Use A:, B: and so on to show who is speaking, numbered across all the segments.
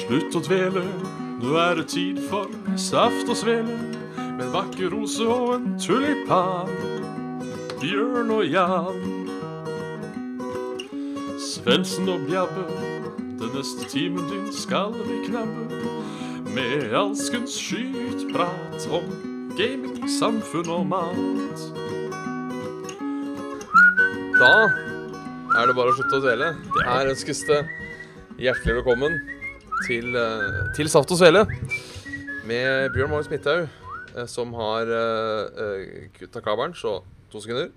A: Slutt å dvele, nå er det tid for saft og svele. Med en vakker rose og en tulipan. Bjørn og Jan. Svendsen og Bjabbe, den neste timen din skal vi knabbe. Med alskens skytprat om gaming, samfunn og mat.
B: Da er det bare å slutte å dvele. Her ønskes det hjertelig velkommen til, eh, til Saft og Svele med Bjørn Magnus Midthaug, eh, som har eh, eh, kutta kabelen. Så to sekunder.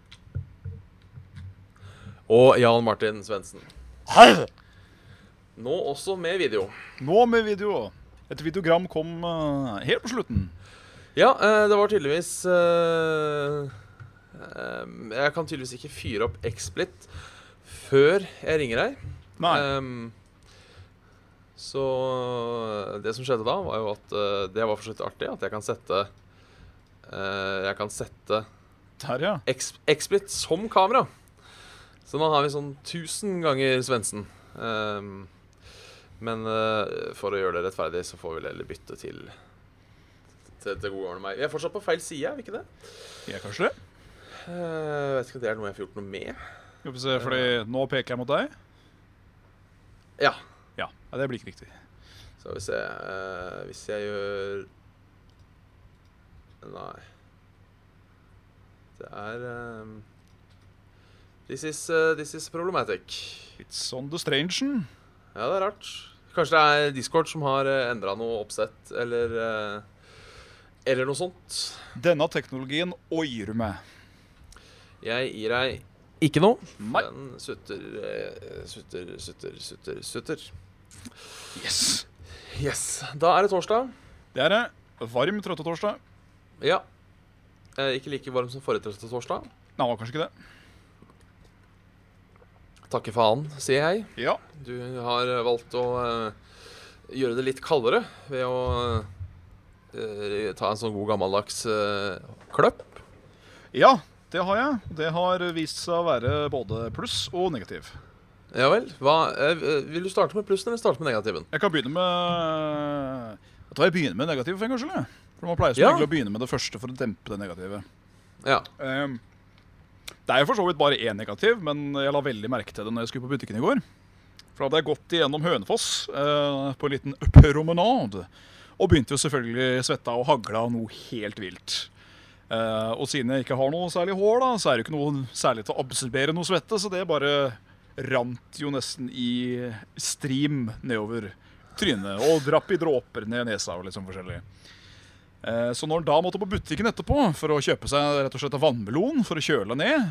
B: Og Jan Martin Svendsen. Nå også med video.
C: Nå med video. Et videogram kom eh, helt på slutten.
B: Ja, eh, det var tydeligvis eh, eh, Jeg kan tydeligvis ikke fyre opp XSplit før jeg ringer deg.
C: Nei.
B: Ehm, så øh, det som skjedde da, var jo at øh, det var for så vidt artig at jeg kan sette øh, Jeg kan sette
C: Der, ja.
B: X- XSplit som kamera. Så nå har vi sånn 1000 ganger Svendsen. Ehm, men øh, for å gjøre det rettferdig, så får vi vel heller bytte til til, til gode gamle meg. Vi er fortsatt på feil side, er vi ikke det?
C: Jeg kanskje det.
B: Eh, vet ikke om det er noe jeg får gjort noe med.
C: Skal vi se, fordi nå peker jeg mot deg.
B: Ja.
C: Ja, ja det blir ikke riktig.
B: Skal vi se eh, Hvis jeg gjør Nei. Det er eh, this, is, eh, this is problematic.
C: It's on the strangen.
B: Ja, det er rart. Kanskje det er Discord som har uh, endra noe oppsett, eller eh, Eller noe sånt.
C: Denne teknologien oier meg.
B: Jeg gir deg ikke noe.
C: Nei.
B: Den sutter, eh, sutter, sutter, sutter, sutter.
C: Yes.
B: Yes. Da er det torsdag.
C: Det er det. Varm trøttetorsdag.
B: Ja. Eh, ikke like varm som forrige torsdag.
C: Nei, det var kanskje ikke det.
B: Takke faen, sier jeg.
C: Ja.
B: Du har valgt å eh, gjøre det litt kaldere ved å eh, ta en sånn god gammeldags eh, kløpp.
C: Ja, det har jeg. Det har vist seg å være både pluss og negativ.
B: Ja vel. Hva, eh, vil du starte med plussen eller starte med negativen?
C: Jeg kan begynne med Jeg tror jeg begynner med negativ for en gangs skyld. jeg. For Man pleier som
B: Ja.
C: regel å begynne med det første for å dempe det negative.
B: Ja.
C: Ehm, det er jo for så vidt bare én negativ, men jeg la veldig merke til det når jeg skulle på butikken i går. For da hadde jeg gått igjennom Hønefoss eh, på en liten promenade. Og begynte jo selvfølgelig svetta og hagla noe helt vilt. Eh, og siden jeg ikke har noe særlig hår, da, så er det ikke noe særlig til å absorbere noe svette, så det bare rant jo nesten i stream nedover trynet. Og drapp i dråper ned nesa og litt sånn forskjellig. Eh, Så når han da måtte på butikken etterpå for å kjøpe seg rett og slett en vannmelon for å kjøle ned,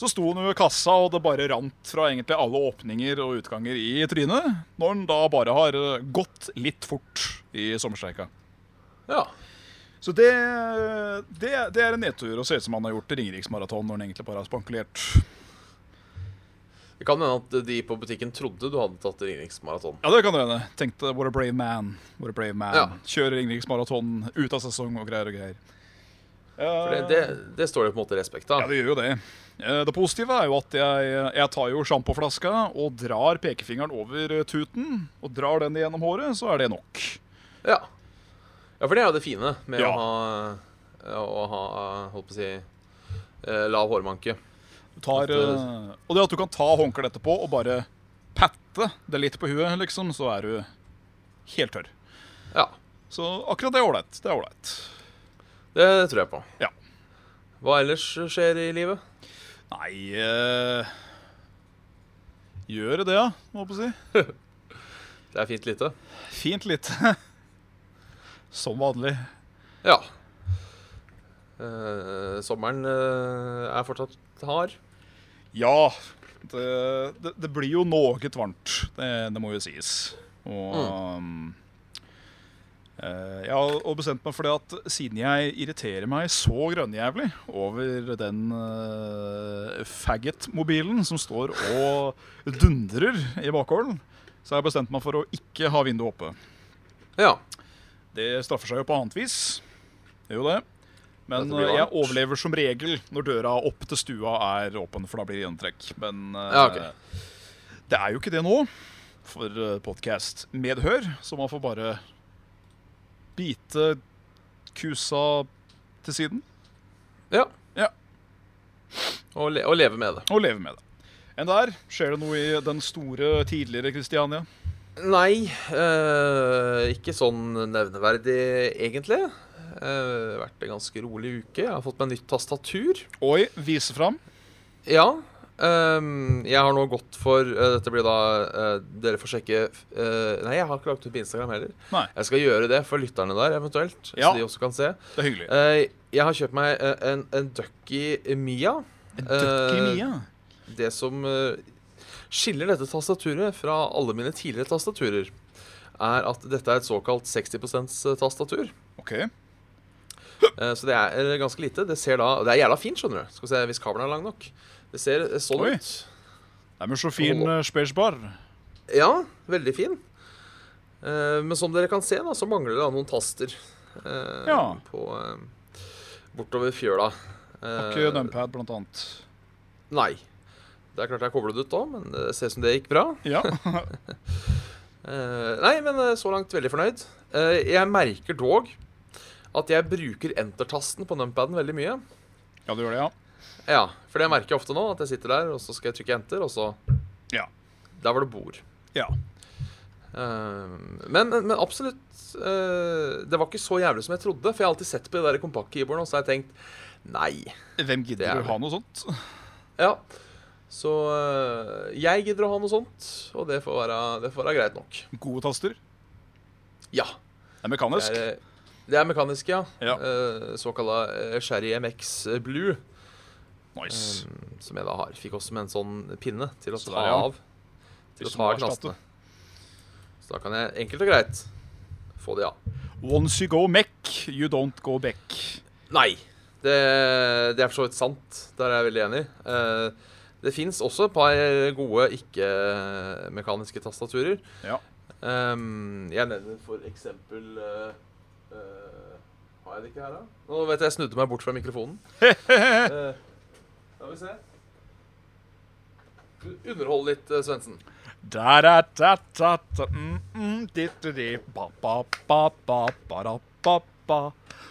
C: så sto han jo ved kassa, og det bare rant fra egentlig alle åpninger og utganger i trynet. Når han da bare har eh, gått litt fort i sommerstreika.
B: ja.
C: Så det, det, det er en nedtur å se ut som han har gjort i Ringeriksmaraton når han egentlig bare har spankulert.
B: Det kan hende at de på butikken trodde du hadde tatt ringningsmaraton.
C: Ja, det kan det hende. Tenkte what a brave man. What a brave man.
B: Ja.
C: Kjører Ringeriksmaraton ut av sesong og greier og greier.
B: For det, det, det står det på en måte respekt av.
C: Ja, det gjør jo det. Eh, Det positive er jo at jeg, jeg tar jo sjampoflaska og drar pekefingeren over eh, tuten. Og drar den gjennom håret, så er det nok.
B: Ja. ja, for det er jo det fine med
C: Ja.
B: å ha, å ha holdt på å si, eh, lav hårmanke.
C: Du tar, eh, og det at du kan ta håndkleet etterpå og bare patte det litt på huet, liksom, så er du helt tørr.
B: Ja,
C: Så akkurat det er ålreit. Det er ålreit.
B: det tror jeg på.
C: Ja.
B: Hva ellers skjer i livet?
C: Nei eh, Gjør det, ja, må jeg på si.
B: Det er fint lite.
C: Fint lite. Som vanlig.
B: Ja. Eh, sommeren eh, er fortsatt hard.
C: Ja, det, det, det blir jo noe varmt. Det, det må jo sies. Og um, eh, Jeg har og bestemt meg for det at siden jeg irriterer meg så grønnjævlig over den eh, faggot-mobilen som står og dundrer i bakgården, så har jeg bestemt meg for å ikke ha vinduet oppe.
B: Ja.
C: Det straffer seg jo på annet vis. Det er jo det. Men
B: Dette blir
C: eh, jeg
B: varmt.
C: overlever som regel når døra opp til stua er åpen, for da blir det gjennomtrekk. Men eh,
B: Ja, ok.
C: det er jo ikke det nå. for podkast-medhør, så man får bare bite kusa til siden
B: Ja.
C: Ja.
B: Og, le og leve med det.
C: og leve med det. Enn der skjer det noe i den store, tidligere Kristiania.
B: Nei, eh, ikke sånn nevneverdig, egentlig. Eh, det har vært en ganske rolig uke. Jeg har fått meg nytt tastatur.
C: Oi, vise fram.
B: Ja. ehm, jeg har nå gått for eh, Dette blir da eh, Dere får sjekke eh, Nei, jeg har ikke lagt ut på Instagram heller.
C: Nei.
B: Jeg skal gjøre det for lytterne der, eventuelt.
C: Ja.
B: Så de også kan se.
C: Det er hyggelig.
B: Eh, jeg har kjøpt meg eh, en, en Ducky Mia.
C: Døkk i
B: eh,
C: mia.
B: det som eh, skiller dette tastaturet fra alle mine tidligere tastaturer, er at dette er et såkalt 60 tastatur.
C: OK.
B: Eh, Så det er ganske lite. Det ser da Det er jævla fint, skjønner du. Skal vi se hvis kabelen er lang nok. Det ser eh, sånn
C: Oi.
B: ut.
C: Det er med så fin eh, spesbar.
B: Ja, veldig fin. Eh, Men som dere kan se, da, så mangler det da noen taster eh,
C: Ja.
B: på eh, bortover fjøla.
C: Har
B: Eh,
C: ikke numpad, blant annet.
B: Nei. Det er klart jeg koblet ut da, men det ser ut som det gikk bra.
C: Ja.
B: Eh, nei, men eh, så langt veldig fornøyd. Eh, jeg merker dog at jeg bruker enter-tasten på numpaden veldig mye.
C: ja, du gjør det, ja.
B: Ja, for det merker jeg ofte nå, at jeg sitter der, og så skal jeg trykke enter, og så
C: Ja.
B: Der var det bord.
C: Ja.
B: Eh, men, men absolutt eh, Det var ikke så jævlig som jeg trodde, for jeg har alltid sett på de der kompakt-keyboardene, og så har jeg tenkt Nei.
C: Hvem
B: Det er
C: gidder å
B: det.
C: ha noe sånt?
B: Ja. Så eh, jeg gidder å ha noe sånt, og det får være, det får være greit nok.
C: Gode taster.
B: Ja.
C: Det er mekanisk.
B: Det er, eh, det er mekanisk, ja.
C: Ja.
B: Eh, Såkalla eh, Sherry MX Blue,
C: Nice.
B: eh, som jeg da har. Fikk også med en sånn pinne til å
C: Så
B: ta
C: der, ja.
B: av. Til å
C: Hvis du
B: ta av
C: må erstatte.
B: knastene. Så da kan jeg enkelt og greit få de av.
C: Once you go mech, you don't go back.
B: Nei! Det, det er for så vidt sant. Der er jeg veldig enig. Eh, det fins også et par gode ikke-mekaniske tastaturer.
C: Ja.
B: Ehm, jeg nevner for eksempel eh, eh, Har jeg det ikke her, da? Nå vet jeg jeg snudde meg bort fra mikrofonen. Eh, Skal vi se. Du- Underhold litt, eh, Svendsen.
C: Da, da, da, da, da, mm, mm, di, di, di, ba, ba, ba, ba, ba, da, ba, ba.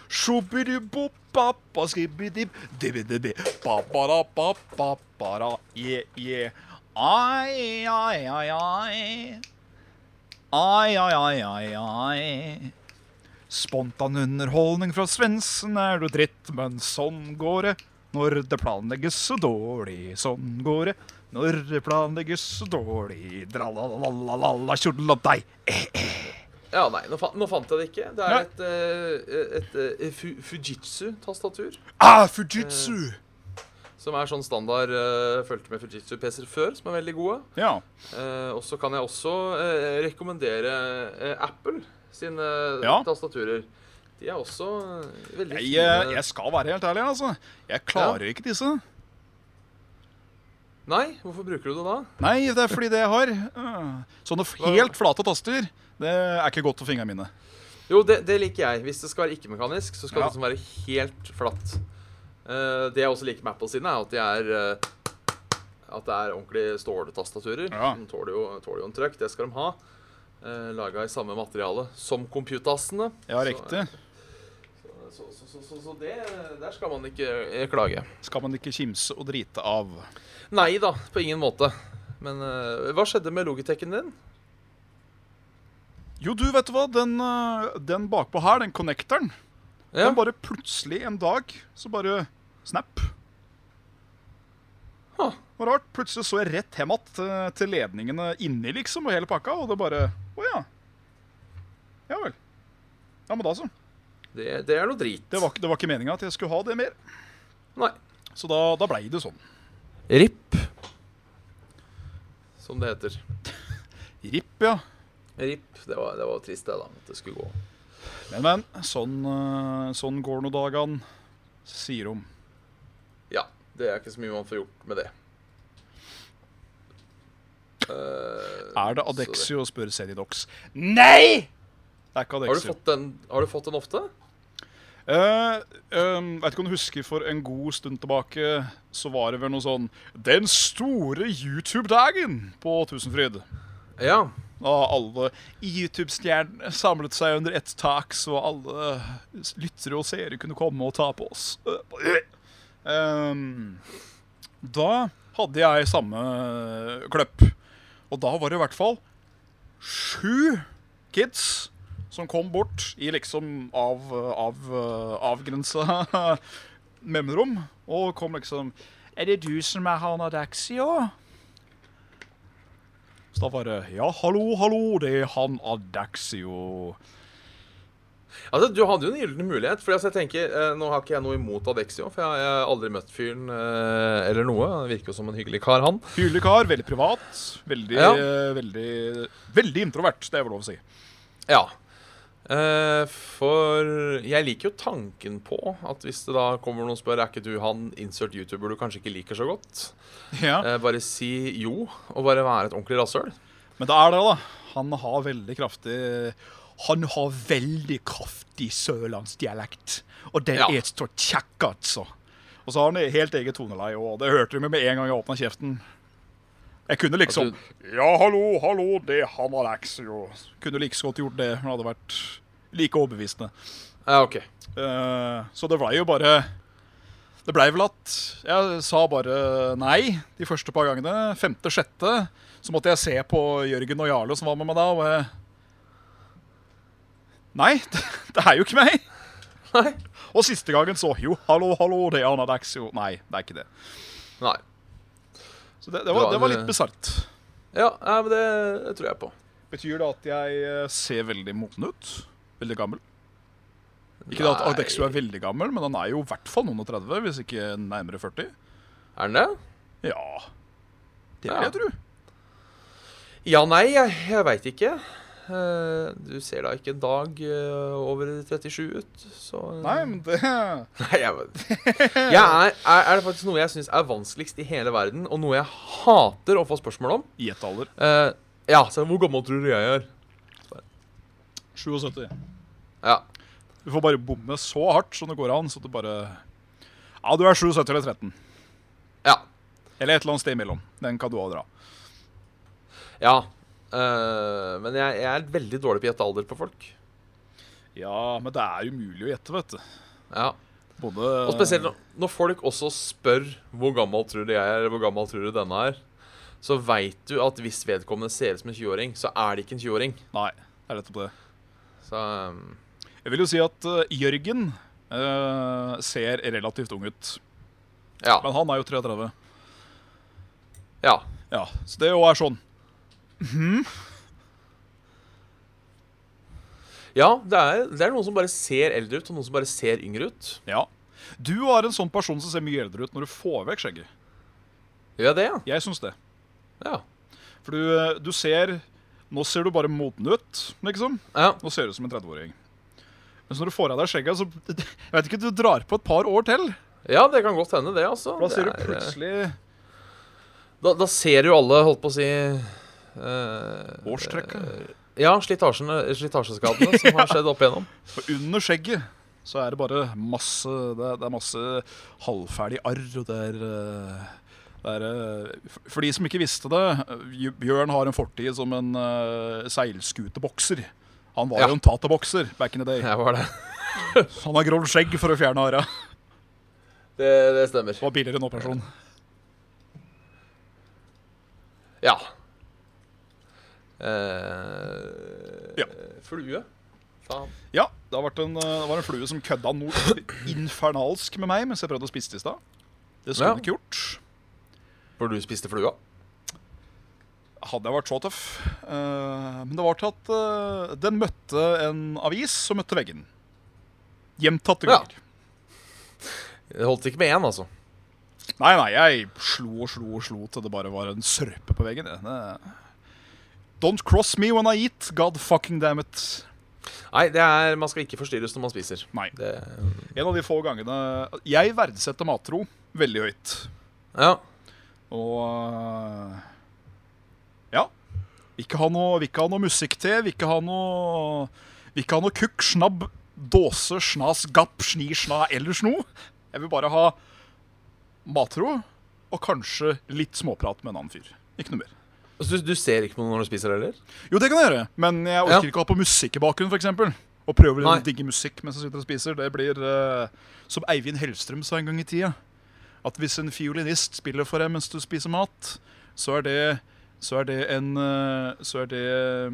C: Sjobidubo, ba, ba, skibidib, dibbidibi, ba, ba, da, ba, ba, ba, da, yeah, yeah. Ai, ai, ai, ai. Ai, ai, ai, ai, ai. Spontan underholdning fra Svendsen er noe dritt, men sånn går det. Når det planlegges så dårlig, sånn går det. Når det planlegges så dårlig, dralalalala, tjoddeladei.
B: Ja, nei, nå, fa nå fant jeg det ikke. Det
C: Nei.
B: er et, eh, et, eh, fu Fujitsu-tastatur.
C: Ah, Fujitsu!
B: Som er sånn standard uh, fulgte med Fujitsu-PC-er før, som er veldig gode.
C: Ja.
B: Eh, og så kan jeg også eh, rekommendere eh, Apple sine eh,
C: Ja.
B: tastaturer. De er også eh, veldig
C: Jeg, eh,
B: fine.
C: jeg skal være helt ærlig, altså. Jeg klarer ikke disse.
B: Nei, hvorfor bruker du det da?
C: Nei, det er fordi det jeg har. eh, Sånne f- helt flate taster, det er ikke godt for fingrene mine.
B: Jo, det, det liker jeg. Hvis det skal være ikke-mekanisk, så skal
C: Ja.
B: det liksom være helt flatt. Eh, det jeg også liker med Apple sine, er at de er eh, at det er ordentlig ståletastaturer.
C: Ja.
B: De tåler jo, tåler jo en trøkk. Det skal de ha. Uh, Laga i samme materiale som computasene.
C: Ja, riktig.
B: Så, så, så, så, så det, der skal man ikke eh, klage.
C: Skal man ikke kimse og drite av.
B: Nei da, på ingen måte. Men eh, hva skjedde med logiteken din?
C: Jo, du, vet du hva? Den, eh, den bakpå her, den connecteren,
B: Ja.
C: den bare plutselig en dag så bare snap.
B: Huh.
C: Det var rart. Plutselig så jeg rett hjem att eh, til ledningene inni, liksom, og hele pakka, og det bare Å ja. Ja vel. Ja, men da så.
B: Det, det er noe drit.
C: Det var, ikke- det var ikke meninga at jeg skulle ha det mer.
B: Nei.
C: Så da, da blei det sånn.
B: RIP. Som det heter.
C: Ripp, ja.
B: RIP. Det var, det var trist, det, da. At det skulle gå.
C: Men, men. Sånn, eh, sånn går nå dagene, sier hun.
B: Ja. Det er ikke så mye man får gjort med det. Eh,
C: Er det
B: så det-
C: Adexio, spør Seridox. Nei! Det er ikke
B: har, du
C: Adexio.
B: fått den, har du fått den ofte?
C: Eh, ehm, vet ikke om du husker for en god stund tilbake, så var det vel noe sånn Den store YouTube-dagen på Tusenfryd.
B: Ja.
C: Da alle YouTube-stjernene samlet seg under ett tak, så alle lyttere og seere kunne komme og ta på oss. Ehm, da hadde jeg samme kløpp. Og da var det i hvert fall sju kids som kom bort i liksom av, av avgrensa mellomrom, og kom liksom Er det du som er han Adaxio? Så da var det Ja, hallo, hallo, det er han Adaxio.
B: Altså, Du hadde jo en gyllen mulighet. for altså, jeg tenker, eh, Nå har ikke jeg noe imot Adexio, for jeg jeg har aldri møtt fyren eh, eller noe. Han virker jo som en hyggelig kar, han.
C: Hyggelig kar, veldig privat. Veldig,
B: Ja.
C: eh, veldig, veldig introvert, det er vel lov å si.
B: Ja. Eh, for jeg liker jo tanken på at hvis det da kommer noen og spør er ikke du han insert YouTuber du kanskje ikke liker så godt,
C: Ja.
B: eh, bare si jo, og bare være et ordentlig rasshøl.
C: Men det er det, da. Han har veldig kraftig Han har veldig kraftig sørlandsdialekt. Og det
B: Ja.
C: er så kjekk, altså. Og så har han helt eget toneleie, og det hørte du med en gang jeg åpna kjeften. Jeg kunne liksom
B: At
C: Ja, hallo, hallo, det er han Alexio. Kunne like så godt gjort det, men det hadde vært like overbevisende.
B: Ja, ok.
C: Eh, så det blei jo bare Det blei vel at jeg sa bare nei de første par gangene. Femte, sjette, så måtte jeg se på Jørgen og Jarle som var med meg da, og jeg Nei, det, det er jo ikke meg!
B: Nei.
C: Og siste gangen så Jo, hallo, hallo, det er Anadax, jo. Nei, det er ikke det.
B: Nei.
C: Så det, det, var, det var litt
B: Det-
C: bisart.
B: Ja, nei, men det, det tror jeg på.
C: Betyr det at jeg eh, ser veldig moten ut? Veldig gammel? Ikke det at
B: Nei.
C: Adexio er veldig gammel, men han er jo i hvert fall noen og 30, hvis ikke nærmere 40.
B: Er den det?
C: Ja. Det vil
B: Ja.
C: jeg tro.
B: Ja, nei, jeg, jeg veit ikke. Eh, Du ser da ikke en dag eh, over 37 ut, så
C: Nei, men det
B: Nei, jeg vet jeg er, er, er det faktisk noe jeg syns er vanskeligst i hele verden, og noe jeg hater å få spørsmål om?
C: Gjett alder.
B: Eh, ja, så hvor gammel tror du jeg er?
C: 77.
B: Ja.
C: Du får bare bomme så hardt som det går an, så du bare Ja, du er 77 eller 13.
B: Ja.
C: Eller et eller annet sted imellom. Den kan du òg dra.
B: ja. Eh, men jeg, jeg er veldig dårlig på å gjette alder på folk.
C: Ja, men det er umulig å gjette, vet du.
B: Ja.
C: Både
B: Og spesielt når, når folk også spør hvor gammel tror du jeg er, eller hvor gammel tror du denne er, så veit du at hvis vedkommende ser ut som en 20-åring, så er det ikke en 20-åring.
C: Nei, det er nettopp det.
B: Så um,
C: Jeg vil jo si at eh, Jørgen eh, ser relativt ung ut.
B: ja.
C: Men han er jo 33.
B: ja.
C: Ja, så det òg er sånn.
B: Ja, det er, det er noen som bare ser eldre ut, og noen som bare ser yngre ut.
C: Ja. Du er en sånn person som ser mye eldre ut når du får vekk skjegget.
B: Gjør jeg det, ja?
C: Jeg syns det.
B: Ja.
C: For du, du ser Nå ser du bare moden ut, liksom.
B: ja.
C: Nå ser du ut som en 30-åring. Men så når du får av deg skjegget, så Jeg vet ikke, du drar på et par år til.
B: Ja, det kan godt hende, det, altså.
C: Da ser du
B: Det er, eh,
C: plutselig
B: da, da ser jo alle, holdt på å si eh,
C: årstrekket.
B: Ja, slitasjene, slitasjeskadene som har skjedd opp igjennom.
C: Og under skjegget så er det bare masse Det er, det er masse halvferdig arr, og det er eh, det er, eh, for- for de som ikke visste det, eh, Bjørn har en fortid som en eh, seilskutebokser. Han var
B: Ja.
C: jo en taterbokser back in the day.
B: Jeg var det.
C: Han har grått skjegg for å fjerne arra.
B: det. Det stemmer.
C: Det var billigere enn operasjon.
B: Ja. Eh,
C: Ja.
B: Flue. Faen.
C: Ja, det, har vært en, eh, det var en flue som kødda noe infernalsk med meg mens jeg prøvde å spise det i stad. Det skulle
B: Ja.
C: hun ikke gjort.
B: Hvor du spiste flua?
C: Hadde jeg vært så tøff. Eh, men det var til at eh, den møtte en avis som møtte veggen. Gjentatte
B: Ja.
C: ganger.
B: Det holdt ikke med én, altså.
C: Nei, nei, jeg slo og slo og slo til det bare var en sørpe på veggen. Det. Det. Don't cross me when I eat, god fucking damn it.
B: Nei, det er, man skal ikke forstyrres når man spiser.
C: Nei.
B: Det,
C: En av de få gangene Jeg verdsetter matro veldig høyt.
B: ja.
C: Og øh, ja. Vil ikke ha noe, vil ikke ha noe musikk til. Vil ikke ha noe, vil ikke ha noe kukk, snabb, dåse, snas, gapp, sni, sna ellers noe. Jeg vil bare ha matro og kanskje litt småprat med en annen fyr. Ikke noe mer.
B: Så du, du ser ikke på noe når du spiser heller?
C: Jo, det kan jeg gjøre, men jeg orker
B: Ja.
C: ikke å ha på musikk i bakgrunnen, f.eks. Og prøve
B: Nei.
C: å digge musikk mens jeg sitter og spiser. Det blir eh, som Eivind Hellstrøm sa en gang i tida. At hvis en fiolinist spiller for deg mens du spiser mat, så er det Så er det en eh, Så er det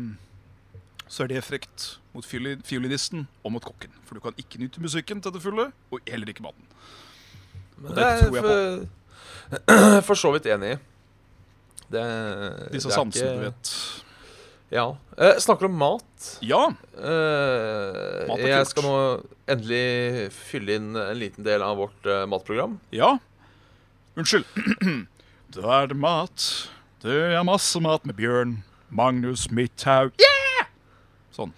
C: Så er det frekt mot fioli- fiolinisten og mot kokken. For du kan ikke nyte musikken til det fulle, og heller ikke maten.
B: Men
C: det tror jeg
B: for, Eh, for så vidt enig i. Det,
C: Disse
B: det er
C: sansene,
B: ikke-
C: du vet.
B: Ja. Eh, snakker om mat.
C: Ja.
B: Eh,
C: Mat er
B: jeg
C: kult.
B: skal nå endelig fylle inn en liten del av vårt eh, matprogram.
C: Ja. Unnskyld. da er det mat. Det er masse mat med Bjørn. Magnus Midthaug. Yeah! Sånn.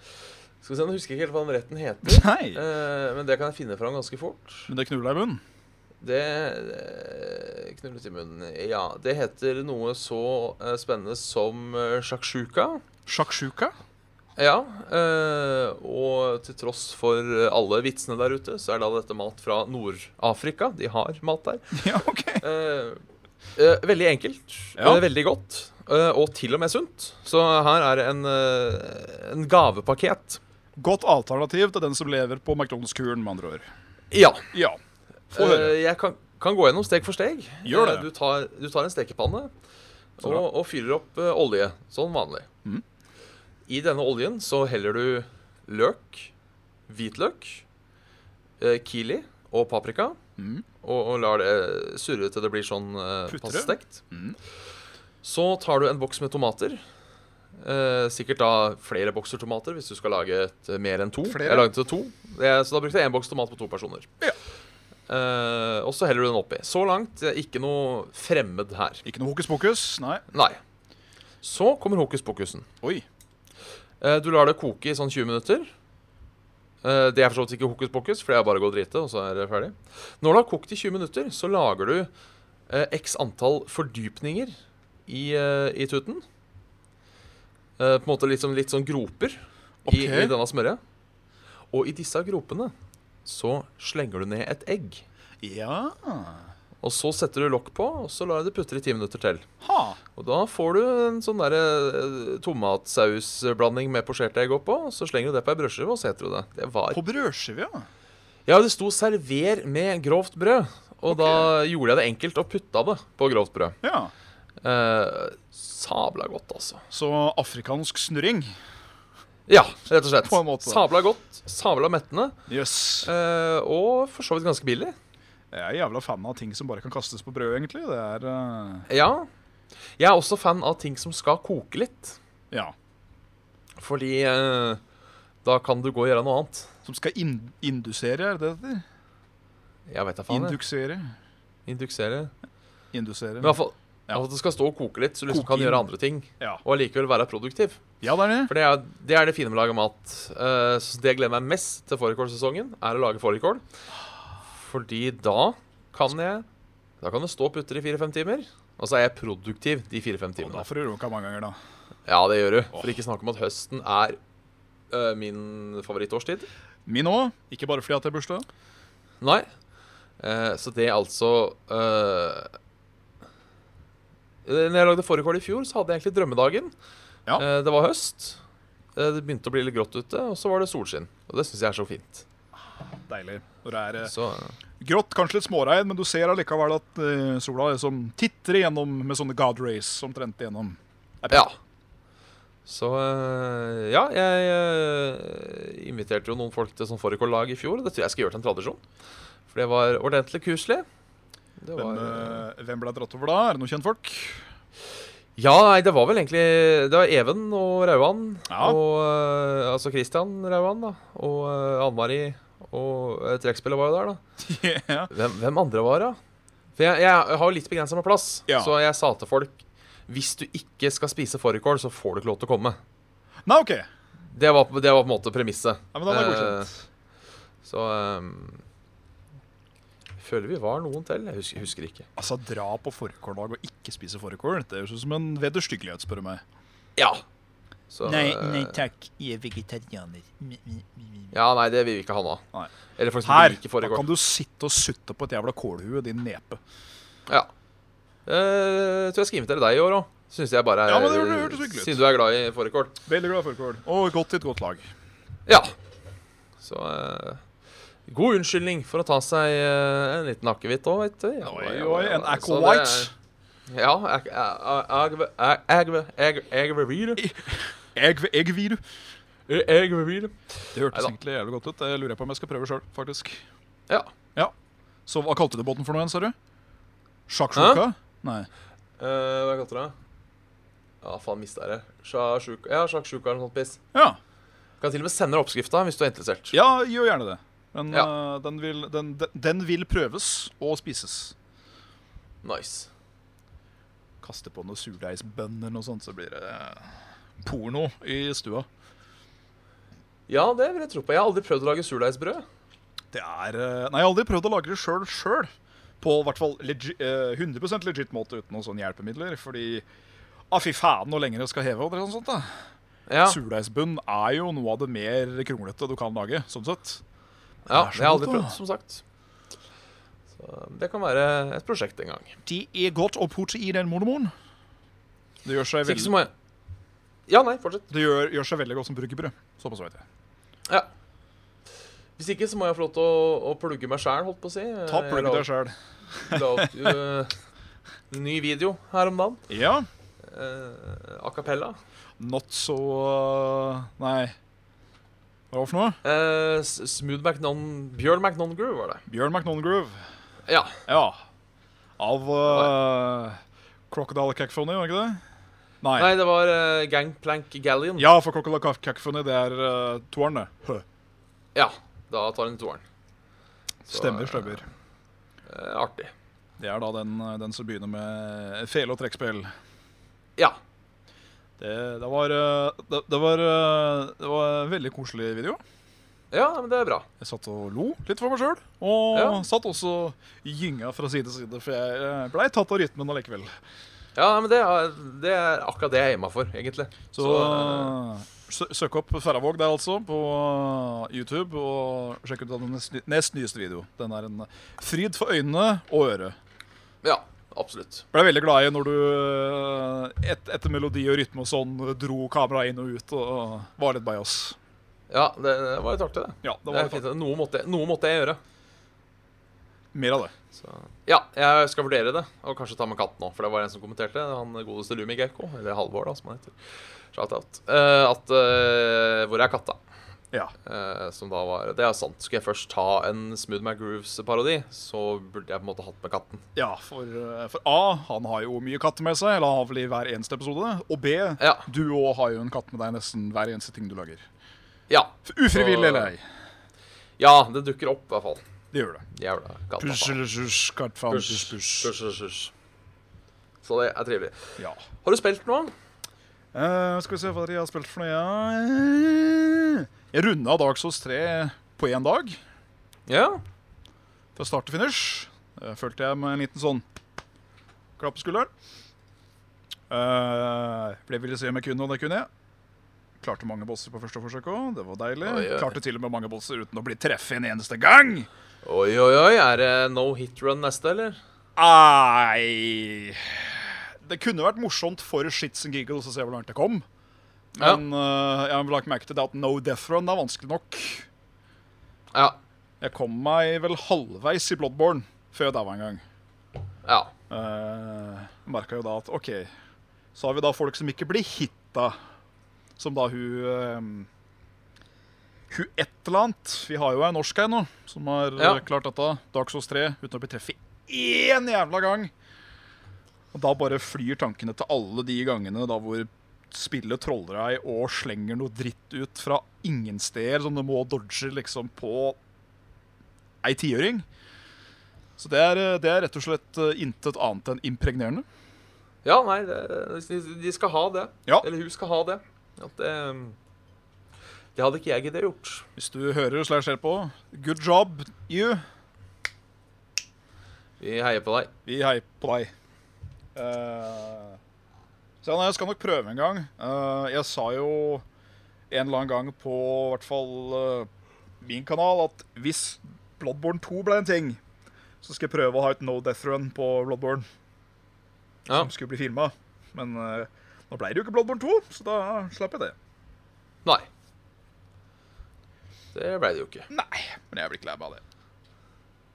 B: Skal vi se, Jeg husker ikke helt hva den retten heter,
C: Nei.
B: eh, men det kan jeg finne fram ganske fort.
C: Men det knulla i munnen.
B: Det eh, knullet i munnen. Ja, det heter noe så eh, spennende som eh, shakshuka.
C: Sjaksjuka?
B: Ja, eh, og til tross for eh, alle vitsene der ute, så er da dette mat fra Nord-Afrika. De har mat der.
C: Ja, OK.
B: Eh, eh, veldig enkelt,
C: Ja.
B: eh, veldig godt, eh, og til og med sunt. Så her er en, eh, en gavepakket.
C: Godt alternativ til den som lever på McDonald's-kuren, med andre ord.
B: Ja.
C: Ja. Få høre.
B: Eh, jeg kan, kan gå gjennom steg for steg.
C: Gjør det.
B: Eh, Du tar, du tar en stekepanne
C: Så
B: og,
C: bra.
B: og fyller opp eh, olje, sånn vanlig.
C: Mhm.
B: I denne oljen så heller du løk, hvitløk, eh, kili og paprika.
C: Mhm.
B: Og, og lar det surre til det blir sånn eh,
C: Putter
B: passe
C: det?
B: stekt.
C: Mhm.
B: Så tar du en boks med tomater. Eh, sikkert da flere bokser tomater hvis du skal lage et, eh, mer enn to.
C: Flere?
B: Jeg lagde to, jeg, så da brukte jeg én boks tomat på to personer.
C: Ja.
B: Eh, og så heller du den oppi. Så langt eh, ikke noe fremmed her.
C: Ikke noe hokus pokus? Nei.
B: Nei. Så kommer hokus pokusen.
C: Oi.
B: Eh, du lar det koke i sånn 20 minutter. Eh, det er for så vidt ikke hokus pokus, for det er bare å gå og drite, og så er det ferdig. Når det har kokt i 20 minutter, så lager du eh, x antall fordypninger i, eh, i tuten. Eh, på en måte litt, sånn- litt sånn groper i,
C: Ok.
B: i denne smørja. Og i disse gropene så slenger du ned et egg.
C: Ja.
B: Og så setter du lokk på, og så lar jeg det putre i ti minutter til.
C: Ha.
B: Og da får du en sånn derre eh, tomatsausblanding med posjerte egg oppå. og Så slenger du det på ei brødskive, og så eter du det. Det var
C: På brødskive, ja.
B: Ja, det sto 'server med grovt brød', og
C: Ok.
B: da gjorde jeg det enkelt og putta det på grovt brød.
C: ja.
B: Eh, sabla godt, altså.
C: Så afrikansk snurring.
B: Ja, rett og slett.
C: På en måte.
B: Sabla godt, sabla mettende,
C: Jøss. Yes.
B: eh, og for så vidt ganske billig.
C: Jeg er jævla fan av ting som bare kan kastes på brød, egentlig. Det er eh,
B: Ja. Jeg er også fan av ting som skal koke litt,
C: Ja.
B: fordi eh, da kan du gå og gjøre noe annet.
C: Som skal in indusere, er det det heter?
B: Jeg vet da faen. jeg.
C: Induksere.
B: Induksere.
C: Indusere.
B: Men i hvert fall
C: Ja.
B: at det skal stå og koke litt, så du liksom
C: Koke
B: kan
C: inn.
B: gjøre andre ting.
C: Ja.
B: Og allikevel være produktiv.
C: ja, det er det.
B: For det er det, er det fine med å lage mat. Eh, så det jeg gleder meg mest til fårikålsesongen, er å lage fårikål. Fordi da kan jeg Da kan det stå og putre i fire-fem timer. Og så er jeg produktiv de fire-fem
C: Og da
B: timene.
C: får du runka mange ganger, da.
B: Ja, det gjør du. For ikke snakke om at høsten er eh, min favorittårstid.
C: Min òg. Ikke bare fordi at det er bursdag.
B: Nei. Eh, så det er altså eh, Når jeg lagde fårikål i fjor, så hadde jeg egentlig drømmedagen.
C: Ja.
B: Eh, det var høst. Eh, det begynte å bli litt grått ute, og så var det solskinn. Og det syns jeg er så fint.
C: Deilig. Når det er eh,
B: Så
C: grått, kanskje litt småregn, men du ser allikevel at eh, sola liksom titrer gjennom med sånne god rays omtrent gjennom.
B: ja. Så eh, ja, jeg eh, inviterte jo noen folk til sånn fårikållag i fjor. og Det tror jeg skal gjøre til en tradisjon. For det var ordentlig kuselig. Det
C: Hvem,
B: var, eh,
C: eh, hvem ble dratt over da? Er det noen kjentfolk?
B: Ja, nei, det var vel egentlig Det var Even og Rauan.
C: Ja.
B: Og eh, altså Christian Rauan, da. Og eh, Anne Marie. Og uh, trekkspillet var jo der, da.
C: ja.
B: Hvem, hvem andre var det? da? For jeg, jeg har jo litt begrensa med plass,
C: Ja.
B: så jeg sa til folk hvis du ikke skal spise fårikål, så får du ikke lov til å komme.
C: Nei, OK. Ja,
B: Det var, det var på en måte premisset.
C: men den er
B: Eh,
C: godkjent.
B: Så eh, jeg føler vi var noen til. Jeg husker, husker ikke.
C: Altså, dra på fårikåldag og ikke spise fårikål, det høres ut som en vederstyggelighet, spør du meg.
B: Ja. Så,
D: Nei,
B: eh,
D: nei takk, jeg er vegetarianer. Mm, mm, mm.
B: Ja, nei, det vil vi ikke ha nå.
C: Nei.
B: Eller folk som
C: Her
B: ikke liker
C: da
B: fårikål.
C: kan du sitte og sutte på et jævla kålhue, din nepe.
B: Ja. Eh, Jeg tror jeg skal invitere deg i år òg. Syns jeg bare er
C: Ja, men det hør- hørtes hyggelig ut.
B: Siden du er glad i fårikål.
C: Veldig glad for kål. Og godt i et godt lag.
B: Ja. Så eh, god unnskyldning for å ta seg eh, en liten akevitt òg, vet du. Ja,
C: Oi,
B: ja,
C: oi,
B: ja,
C: en
B: ja.
C: Aqua
B: Så det er-
C: White.
B: Ja. Ac- a- a- agve- a- agve- agve- agvervire.
C: Egg, eggviru.
B: Eh, agvervire.
C: Det hørtes
B: Neida.
C: egentlig jævlig godt ut. Det lurer jeg på om jeg skal prøve sjøl, faktisk.
B: Ja.
C: Så hva kalte du båten for noe igjen, sa du? Sjakksjuka? Nei.
B: Eh, Hva kalte du det? Ja, faen, mista jeg det. Sjaksjuka ja, sjaksjuka eller noe sånt piss.
C: Ja.
B: Kan til og med sende deg oppskrifta hvis du er interessert.
C: ja, gjør gjerne det. Men
B: Ja.
C: eh, den, vil, den, den- den vil prøves og spises.
B: Nice.
C: Kaste på noen surdeigsbønner eller noe sånt, så blir det eh, porno i stua.
B: Ja, det vil jeg tro på. Jeg har aldri prøvd å lage surdeigsbrød.
C: Det er eh, Nei, jeg har aldri prøvd å lage det sjøl sjøl. På i hvert fall legi, eh, 100 legit måte uten noen sånne hjelpemidler. Fordi ah, fy faen, hvor lenge det skal heve. og det er sånt, da.
B: Ja,
C: Surdeigsbunn er jo noe av det mer kronglete du kan lage. sånn sett.
B: ja
C: er så
B: jeg har aldri
C: godt, da.
B: prøvd, som sagt. Så det kan være et prosjekt en gang.
C: Det er godt å putte i den mormoren. Det gjør seg
B: Hvis ikke så
C: veldig,
B: må jeg Ja, nei, fortsett.
C: det gjør, gjør seg veldig godt som bryggebrød. Såpass vet jeg.
B: Ja. Hvis ikke så må jeg få lov til å, å plugge meg sjæl, holdt på å si. Eh,
C: Ta plugg deg sjøl.
B: sjæl. eh, Ny video her om dagen.
C: Ja.
B: Uh, A cappella.
C: Not so uh, Nei. Hva var det for noe?
B: Eh, S- Smooth McNon... Bjørn McNongrue, var det.
C: Bjørn McNongroove.
B: Ja.
C: Ja. Av uh, Crocodile Cacophony, var det ikke det? Nei.
B: Nei, det var eh, Gangplank Galleon.
C: Ja, for Crocodile Cac- Cacophony, det er uh, toeren, det. Hø.
B: Ja, Da tar en toeren. Så,
C: Stemmer,
B: eh,
C: stemmer.
B: eh, artig.
C: Det er da den, eh, den som begynner med fele og trekkspill.
B: Ja.
C: Det, det var, eh, det, det, var eh, det var en veldig koselig video.
B: ja, men det er bra.
C: Jeg satt og lo litt for meg sjøl. Og
B: Ja.
C: satt også gynga fra side til side, for jeg blei tatt av rytmen allikevel.
B: Ja, men det er, det er akkurat det jeg er hjemme for, egentlig. eh,
C: Så, eh, sø søk opp Færravåg der, altså, på eh, YouTube, og sjekk ut den nest, nest nyeste video. Den er en fryd for øynene og øret.
B: eh, Ja, absolutt.
C: Blei veldig glad i når du eh, et, etter melodi og rytme og sånn dro kameraet inn og ut og var litt by oss.
B: Ja, det, det var litt artig, det.
C: Ja, det
B: det
C: var
B: er fint. Noe måtte, noe måtte jeg gjøre.
C: mer av det.
B: Så. Ja, jeg skal vurdere det, og kanskje ta med katten òg. For det var en som kommenterte, han godeste Lumi Gekko, eller Halvor, da, som han heter. Shoutout. Eh, at eh, Hvor er katta?
C: Ja.
B: Eh, som da var Det er sant. Skulle jeg først ta en Smooth McGrooves-parodi, så burde jeg på en måte hatt med katten.
C: Ja, for, eh, for A, han har jo mye katter med seg, eller han har vel i hver eneste episode. Og B,
B: Ja.
C: du òg har jo en katt med deg nesten hver eneste ting du lager.
B: Ja,
C: Ufrivillig
B: Så-
C: eller ei.
B: ja det dukker opp, i hvert fall.
C: Det gjør det.
B: Jævla katt.
C: Push,
B: pappa.
C: eller shush, katt, faen,
B: Push,
C: push, push.
B: push, push, push. Så det er trivelig.
C: Ja.
B: Har du spilt noe?
C: Eh, skal vi se hva de har spilt for noe, ja. Jeg runda Dark Souls 3 på én dag,
B: Ja.
C: fra start til finish. Eh, følte jeg med en liten sånn klapp på skulderen. Eh, for det ville si om jeg kunne, og det kunne jeg. Klarte mange bosser på første forsøk òg. Det var deilig.
B: Oi, oi.
C: Klarte til og med mange bosser uten å bli treffet en eneste gang.
B: Oi, oi, oi. Er det no hit run neste, eller?
C: Nei Det kunne vært morsomt for shits and giggles å se hvor langt det kom. Men eh, jeg har lagt merke til det at no death run er vanskelig nok.
B: Ja.
C: Jeg kom meg vel halvveis i Bloodborne før jeg daua en gang.
B: Ja.
C: Uh, Merka jo da at OK, så har vi da folk som ikke blir hitta. Som da hun eh, Hun et eller annet. Vi har jo ei norsk ei nå som har eh,
B: Ja.
C: klart dette. Dark Souls 3 uten å bli treffet én jævla gang. Og da bare flyr tankene til alle de gangene da hvor spillet troller deg og slenger noe dritt ut fra ingen steder som du må dodge liksom på ei tiøring. Så det er, eh, det er rett og slett eh, intet annet enn impregnerende.
B: Ja, nei, det, de- de skal ha det.
C: Ja.
B: Eller hun skal ha det. At det, um, det hadde ikke jeg giddet gjort.
C: Hvis du hører slash ser på, good job, you.
B: Vi heier på deg.
C: Vi heier på deg. Eh, så ja, nei, jeg skal nok prøve en gang. Eh, jeg sa jo en eller annen gang på i hvert fall eh, min kanal at hvis Bloodborne 2 ble en ting, så skal jeg prøve å ha et no death run på Bloodborne
B: Ja.
C: som skulle bli filma. Men eh, nå ble det jo ikke Bloodborne 2, så da slapp jeg det.
B: Nei. Det ble det jo ikke.
C: Nei, men jeg blir ikke lei meg av det.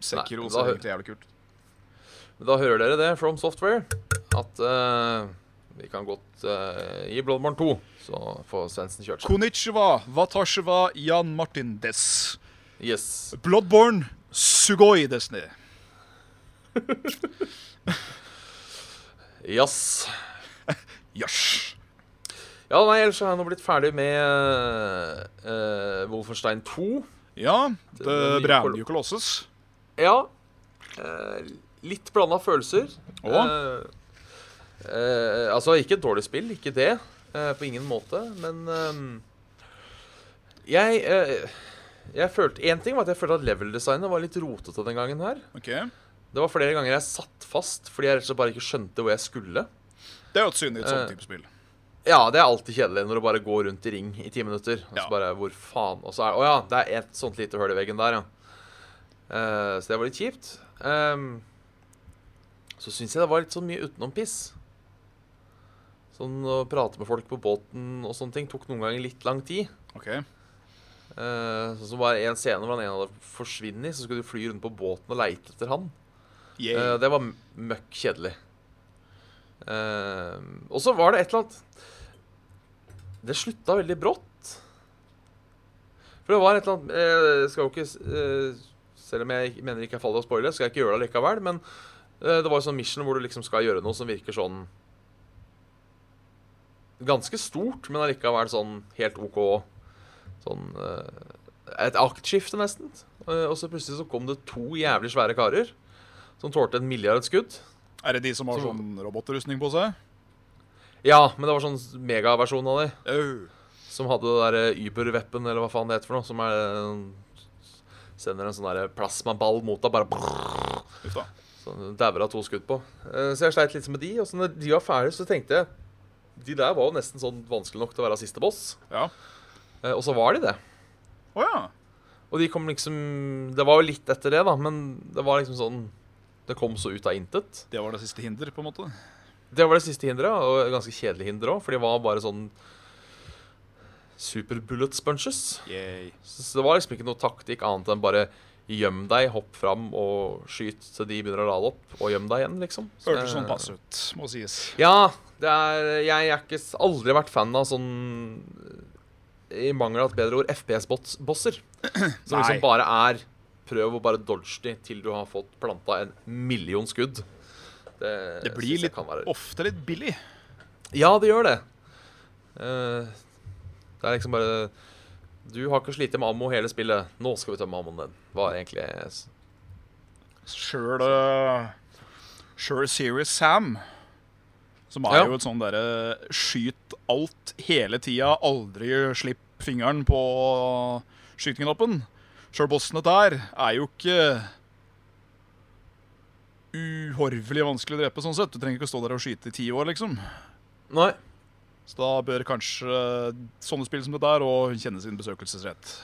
C: Sekiro
B: Nei,
C: ser
B: da-
C: egentlig jævlig kult
B: Men da hører dere det from software, at eh, vi kan godt eh, gi Bloodborne 2, så får Svendsen kjørt seg.
C: Konnichiwa, watashiwa, Jan Martin Dess.
B: Yes.
C: Bloodborne, sugoi Destiny.
B: Yes.
C: Yes.
B: Ja, nei, ellers så har jeg nå blitt ferdig med eh, Wolfenstein 2.
C: Ja,
B: Det er mye
C: det brenner jo Colossus.
B: Ja. eh, litt blanda følelser.
C: Å?
B: Eh, eh, altså, ikke et dårlig spill, ikke det. eh, på ingen måte. Men eh, jeg eh, jeg følte, En ting var at jeg følte at level-designet var litt rotete den gangen her.
C: Ok. Det
B: Det var flere ganger jeg satt fast fordi jeg rett og slett bare ikke skjønte hvor jeg skulle.
C: er jo et synd i et
B: Eh,
C: sånt type spill.
B: Ja, det er alltid kjedelig når du bare går rundt i ring i ti minutter. Og så
C: Ja.
B: bare, hvor faen? Og så er Å ja, det er et sånt lite hull i veggen der, ja. Eh, så det var litt kjipt. Ehm, så syns jeg det var litt sånn mye utenompiss. Sånn å prate med folk på båten og sånne ting tok noen ganger litt lang tid.
C: Ok.
B: Eh, sånn som bare en scene hvor han ene av dem forsvinner, så skulle du fly rundt på båten og leite etter han. Eh,
C: Yeah.
B: det var m- møkk kjedelig. Eh, og så var det et eller annet Det slutta veldig brått. For det var et eller annet eh, Jeg skal jo ikke s- eh, Selv om jeg ikke- mener ikke er farlig å spoile, skal jeg ikke gjøre det likevel. Men eh, det var jo sånn mission hvor du liksom skal gjøre noe som virker sånn Ganske stort, men allikevel sånn helt OK. Sånn eh, Et aktskifte, nesten. Eh, og så plutselig så kom det to jævlig svære karer som tålte en milliard skudd.
C: Er det de som har
B: så-
C: sånn robotrustning på seg?
B: Ja, men det var sånn megaversjon av de,
C: Au.
B: som hadde det derre Uber-weapon, eller hva faen det heter for noe, som er eh, Sender en sånn derre plasmaball mot deg, bare brrrr,
C: Uff da.
B: sånn du dauer av to skudd på. Eh, Så jeg sleit litt med de, og så når de var ferdige, så tenkte jeg De der var jo nesten sånn vanskelig nok til å være siste boss,
C: Ja.
B: Eh, og så var de det.
C: Å ja.
B: Og de kom liksom Det var jo litt etter det, da, men det var liksom sånn Det kom så ut av intet.
C: Det var det siste hinder, på en måte.
B: Det var det siste hinderet, og et ganske kjedelig hinder òg, for de var bare sånn super bullet sponges.
C: Yay.
B: Så så det var liksom ikke noe taktikk annet enn bare gjem deg, hopp fram og skyt til de begynner å lade opp, og gjem deg igjen, liksom. Så
C: Hørtes
B: det-
C: sånn pass ut, må sies.
B: Ja. Det er, jeg er ikke s- aldri vært fan av sånn I mangel av et bedre ord FPS-bosser. Som
C: Nei.
B: liksom bare er Prøv å bare dodge de til du har fått planta en million skudd. Det,
C: Det
B: synes jeg
C: blir litt,
B: kan være-
C: ofte litt billig.
B: ja, det gjør det. Eh, det er liksom bare Du har ikke slitt med ammo hele spillet. Nå skal vi tømme ammoen din. Var egentlig s-
C: Sjøl eh, Sjøl Serious Sam, som er
B: Ja.
C: jo et sånn derre skyt alt hele tida, aldri slipp fingeren på skyteknappen. Sjøl bossene der er jo ikke uhorvelig vanskelig å drepe, sånn sett. Du trenger ikke å stå der og skyte i ti år, liksom.
B: Nei.
C: Så da bør kanskje eh, sånne spill som det der og kjenne sin besøkelsesrett.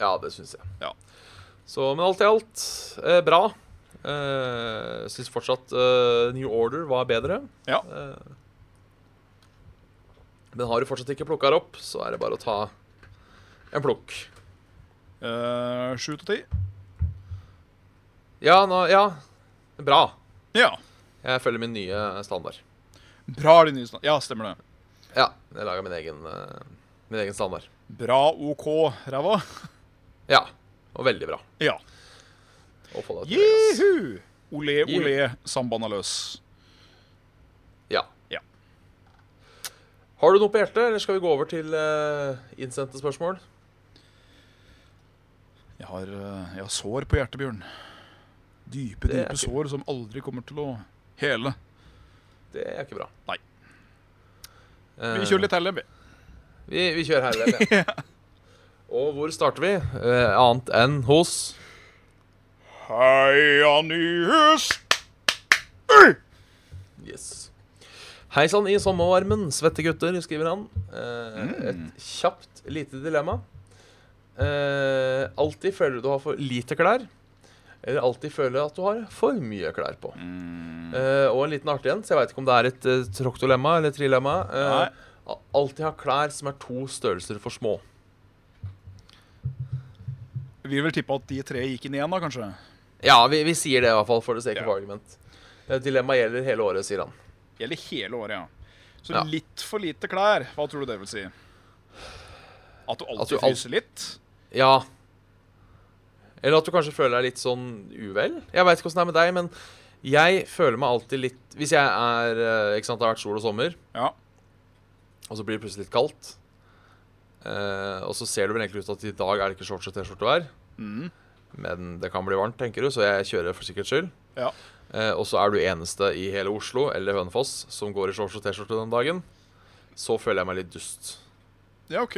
B: Ja, det syns jeg.
C: Ja.
B: Så, men alt i alt eh, bra. Uh, syns fortsatt eh, New Order var bedre.
C: Ja.
B: Eh, men har du fortsatt ikke plukka det opp, så er det bare å ta en plukk.
C: Eh, Sju til ti.
B: Ja, nå, ja. Bra.
C: Ja.
B: Jeg følger min nye standard.
C: Bra er det nye stand- Ja, stemmer det.
B: Ja, jeg lager min egen, eh, min egen standard.
C: Bra, OK, ræva.
B: Ja, og veldig bra.
C: Ja.
B: Å få det til. ass.
C: Jehu! Olé, olé, sambandet er løs.
B: Ja.
C: Ja.
B: Har du noe på hjertet, eller skal vi gå over til eh, innsendte spørsmål?
C: Jeg har, eh, jeg har sår på hjertet, Bjørn. Dype,
B: Det er
C: dype
B: fint.
C: sår som aldri kommer til å hele.
B: Det er ikke bra.
C: Nei.
B: Eh,
C: Vi kjører litt LMB.
B: Vi, vi kjører her. Leif, ja. Og hvor starter vi? Eh, annet enn hos
C: Heia Nyhus!
B: Yes. Hei sann i sommervarmen, svette gutter, skriver han. Eh, Et kjapt, lite dilemma. Eh, alltid føler du har for lite klær. eller alltid føler at du har for mye klær på. Eh, og en liten artig en, så jeg veit ikke om det er et uh, troktolemma eller trilemma. eh, al- alltid ha klær som er to størrelser for små.
C: Vi vil tippe at de tre gikk inn igjen, da, kanskje.
B: Ja, vi, vi sier det i hvert fall, for the sake of
C: Ja.
B: argument. Eh, Dilemmaet gjelder hele året, sier han.
C: Gjelder hele året, ja. Så
B: Ja.
C: litt for lite klær, hva tror du det vil si? At du alltid
B: At du al-
C: fryser litt?
B: Ja. Eller at du kanskje føler deg litt sånn uvel. Jeg veit ikke åssen det er med deg, men jeg føler meg alltid litt Hvis jeg er eh, Ikke sant, det har vært sol og sommer,
C: Ja.
B: og så blir det plutselig litt kaldt. eh, og så ser det vel egentlig ut til at i dag er det ikke shorts og T-skjortevær,
C: Mm.
B: men det kan bli varmt, tenker du, så jeg kjører for sikkerhets skyld.
C: Ja.
B: Eh, og så er du eneste i hele Oslo eller Hønefoss som går i shorts og T-skjorte den dagen. Så føler jeg meg litt dust.
C: ja, OK.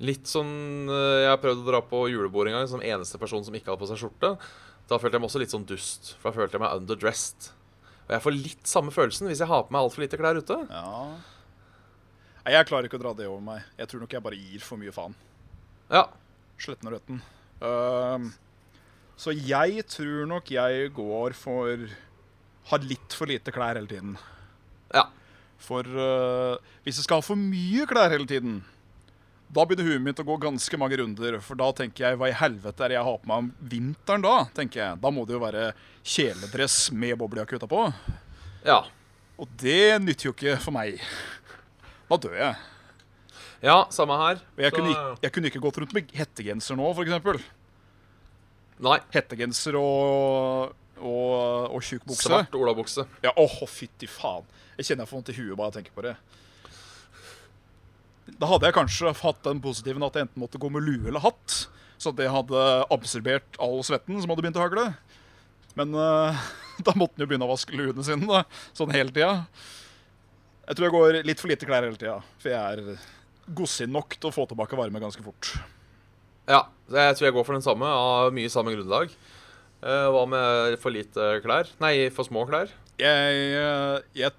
B: Litt sånn eh, Jeg har prøvd å dra på julebord en gang som eneste person som ikke hadde på seg skjorte. Da følte jeg meg også litt sånn dust, for da følte jeg meg underdressed. Og jeg får litt samme følelsen hvis jeg har på meg altfor lite klær ute.
C: Ja. Nei, jeg klarer ikke å dra det over meg. Jeg tror nok jeg bare gir for mye faen.
B: Ja.
C: Sletten og røtten. Ehm, så jeg tror nok jeg går for Har litt for lite klær hele tiden.
B: Ja.
C: For eh, hvis jeg skal ha for mye klær hele tiden, da begynner huet mitt å gå ganske mange runder. For da tenker jeg hva i helvete er det jeg har på meg om vinteren da? tenker jeg. Da må det jo være kjeledress med boblejakke utapå.
B: Ja.
C: Og det nytter jo ikke for meg. Da dør jeg.
B: ja samme her.
C: Og jeg,
B: Så- eh,
C: kunne, ikk- jeg kunne ikke gått rundt med hettegenser nå, f.eks.
B: Nei.
C: Hettegenser og, og, og tjukk bukse.
B: Svart olabukse.
C: Ja, åh, fytti faen. Jeg kjenner jeg får vondt i huet bare jeg tenker på det. Da hadde jeg kanskje hatt den positiven at jeg enten måtte gå med lue eller hatt, så at det hadde absorbert all svetten som hadde begynt å hagle. Men eh, da måtte en jo begynne å vaske luene sine, da. Sånn hele tida. Jeg tror jeg går litt for lite klær hele tida, for jeg er godsinn nok til å få tilbake varme ganske fort.
B: Ja. så Jeg tror jeg går for den samme, av mye samme grunnlag. Eh, hva med for lite klær? Nei, for små klær.
C: Jeg, eh, jeg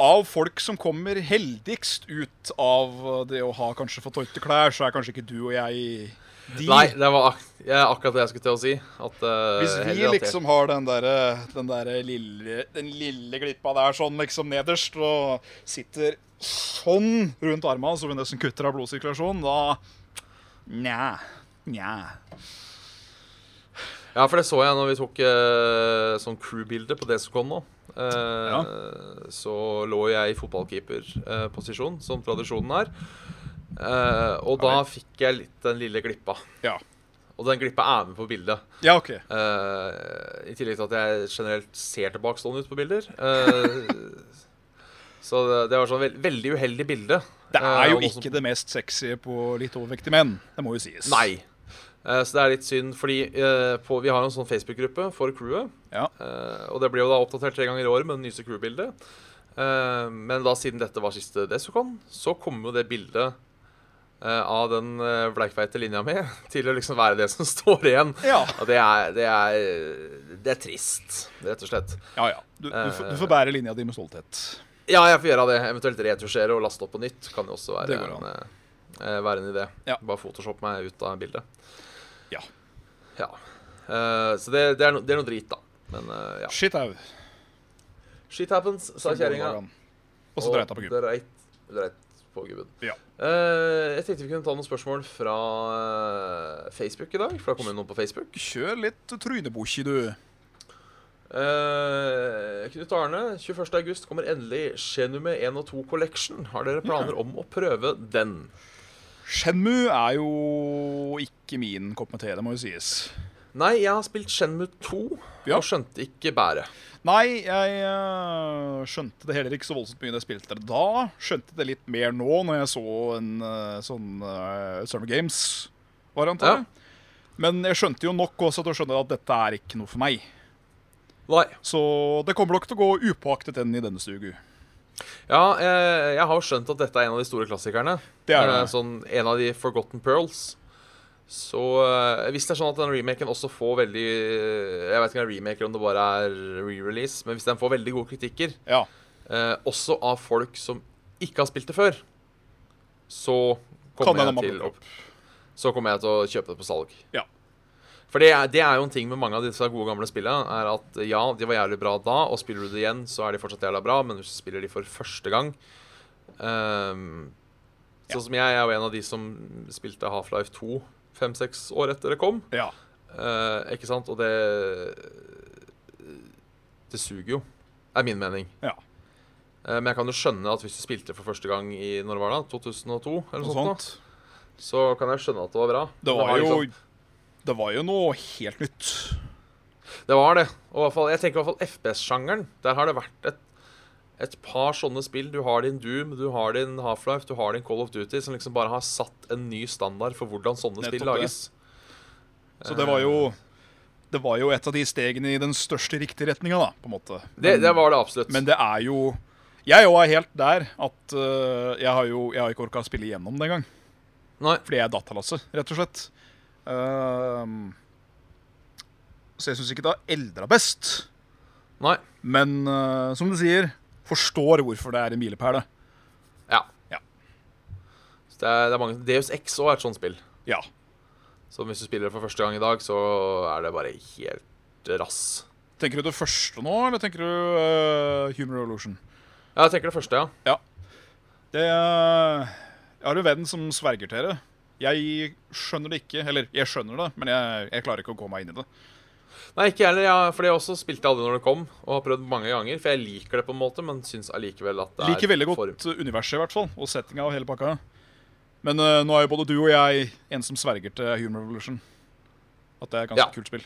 C: Av folk som kommer heldigst ut av det å ha kanskje for tøyte klær, så er kanskje ikke du og jeg de.
B: Nei, det var ak jeg, akkurat det jeg skulle til å si. At, eh,
C: Hvis vi
B: heller at jeg-
C: liksom har den derre den derre lille, den lille glippa der sånn liksom nederst, og sitter sånn rundt armene så vi nesten kutter av blodsirkulasjonen, da Nja. Nja.
B: Ja, for det så jeg når vi tok eh, sånn crew-bilde på Desicon nå. Eh, Så lå jeg i fotballkeeperposisjon, som tradisjonen er. Eh, og da
C: Ja
B: fikk jeg litt den lille glippa.
C: Ja.
B: Og den glippa er med på bildet.
C: Ja, OK.
B: Eh, I tillegg til at jeg generelt ser tilbakestående ut på bilder. Eh, så det, det var sånn veld, veldig uheldig bilde.
C: Det er jo
B: Eh, og som-
C: ikke det mest sexy på litt overvektige menn. Det må jo sies.
B: Nei. Eh, Så det er litt synd, fordi eh, på, vi har en sånn Facebook-gruppe for crewet.
C: Ja.
B: Eh, og det blir jo da oppdatert tre ganger i året med det nyeste crew-bildet. Eh, men da siden dette var siste Desicon, så kom jo det bildet eh, av den eh, bleikfeite linja mi til å liksom være det som står igjen.
C: Ja.
B: Og det er, det er Det er trist, rett og slett.
C: Ja, ja. Du, du, får- du
B: Eh.
C: får bære linja di med stolthet.
B: Ja, jeg får gjøre det. Eventuelt retusjere og laste opp på nytt. Kan jo også være,
C: Det går an.
B: en, eh, være en idé.
C: Ja.
B: Bare photoshop meg ut av bildet.
C: Ja.
B: Ja. Eh, så det, det, er no, det er noe drit, da. Men eh, ja.
C: Shit au.
B: Shit happens, sa
C: Sånn går det
B: kjerringa.
C: an. Og så dreit jeg på gubben.
B: Dreit, dreit på gubben.
C: Ja.
B: Eh, jeg tenkte vi kunne ta noen spørsmål fra eh, Facebook i dag. For det kom inn noen på Facebook.
C: Kjør litt trynebokki, du.
B: Eh, Knut Arne, 21. august kommer endelig Genume 1 og 2 Collection. Har dere planer om å prøve den?
C: Shenmu er jo ikke min kopp med te, det må jo sies.
B: Nei, jeg har spilt Shenmue 2
C: Ja.
B: og skjønte ikke bæret.
C: Nei, jeg eh, skjønte det heller ikke så voldsomt mye da jeg spilte det da. Skjønte det litt mer nå når jeg så en eh, sånn eh, Summer Games-variant av
B: Ja.
C: det. Men jeg skjønte jo nok også til å skjønne at dette er ikke noe for meg.
B: Nei.
C: Så det kommer nok til å gå upåaktet enn i denne stugu.
B: Ja, eh, jeg har jo skjønt at dette er en av de store klassikerne.
C: Det er
B: Eh,
C: det.
B: Sånn, en av de Forgotten Pearls. Så eh, hvis det er sånn at den remaken også får veldig Jeg vet ikke om det er remake eller om det bare er re-release, men hvis den får veldig gode kritikker,
C: Ja.
B: eh, også av folk som ikke har spilt det før, så
C: Kan
B: kommer
C: hende
B: jeg
C: man
B: til
C: plukker
B: å Så kommer jeg til å kjøpe det på salg.
C: Ja.
B: For det er, det er jo en ting med mange av disse gode gamle spillene, er at ja, de var jævlig bra da, og spiller du det igjen, så er de fortsatt jævla bra, men hvis du spiller de for første gang ehm, Sånn som jeg er jo en av de som spilte Half-Life 2 fem-seks år etter det kom.
C: Ja.
B: Eh, ikke sant? Og det Det suger jo, er min mening.
C: Ja.
B: Eh, men jeg kan jo skjønne at hvis du spilte for første gang i når var det, da? 2002, eller noe
C: Noe
B: sånt,
C: sånt.
B: da, så kan jeg skjønne at det var bra.
C: Det
B: Men
C: var
B: liksom-
C: jo Det var jo noe helt nytt.
B: Det var det. Og i hvert fall, jeg tenker i hvert fall FPS-sjangeren. Der har det vært et, et par sånne spill. Du har din Doom, du har din Half-Life, du har din Call of Duty, som liksom bare har satt en ny standard for hvordan sånne
C: Nettopp
B: spill
C: det.
B: lages.
C: Så det var jo Det var jo et av de stegene i den største riktige retninga, da, på en måte.
B: Det, det var det absolutt.
C: Men det er jo Jeg òg er helt der at øh, jeg har jo jeg har ikke orka å spille igjennom det engang.
B: Nei.
C: Fordi jeg er datalasse, rett og slett. Ehm, så jeg syns ikke det har eldra best.
B: Nei.
C: Men øh, som du sier, forstår hvorfor det er en milepæl.
B: Ja.
C: Ja.
B: Så det er, det er mange Deus X òg er et sånt spill.
C: Ja.
B: Så hvis du spiller det for første gang i dag, så er det bare helt rass.
C: Tenker du det første nå, eller tenker du øh, Human Revolution?
B: Ja, jeg tenker det første, ja.
C: Det Jeg har en venn som sverger til det. Jeg skjønner det ikke. Eller, jeg skjønner det, men jeg, jeg klarer ikke å gå meg inn i det.
B: Nei, ikke jeg heller. Ja, fordi jeg også spilte aldri når det kom, og har prøvd mange ganger. For jeg liker det på en måte, men syns allikevel at det er
C: Liker veldig godt universet, i hvert fall. Og settinga og hele pakka. Men øh, nå er jo både du og jeg en som sverger til Human Revolution. At det er et ganske
B: Ja.
C: kult spill.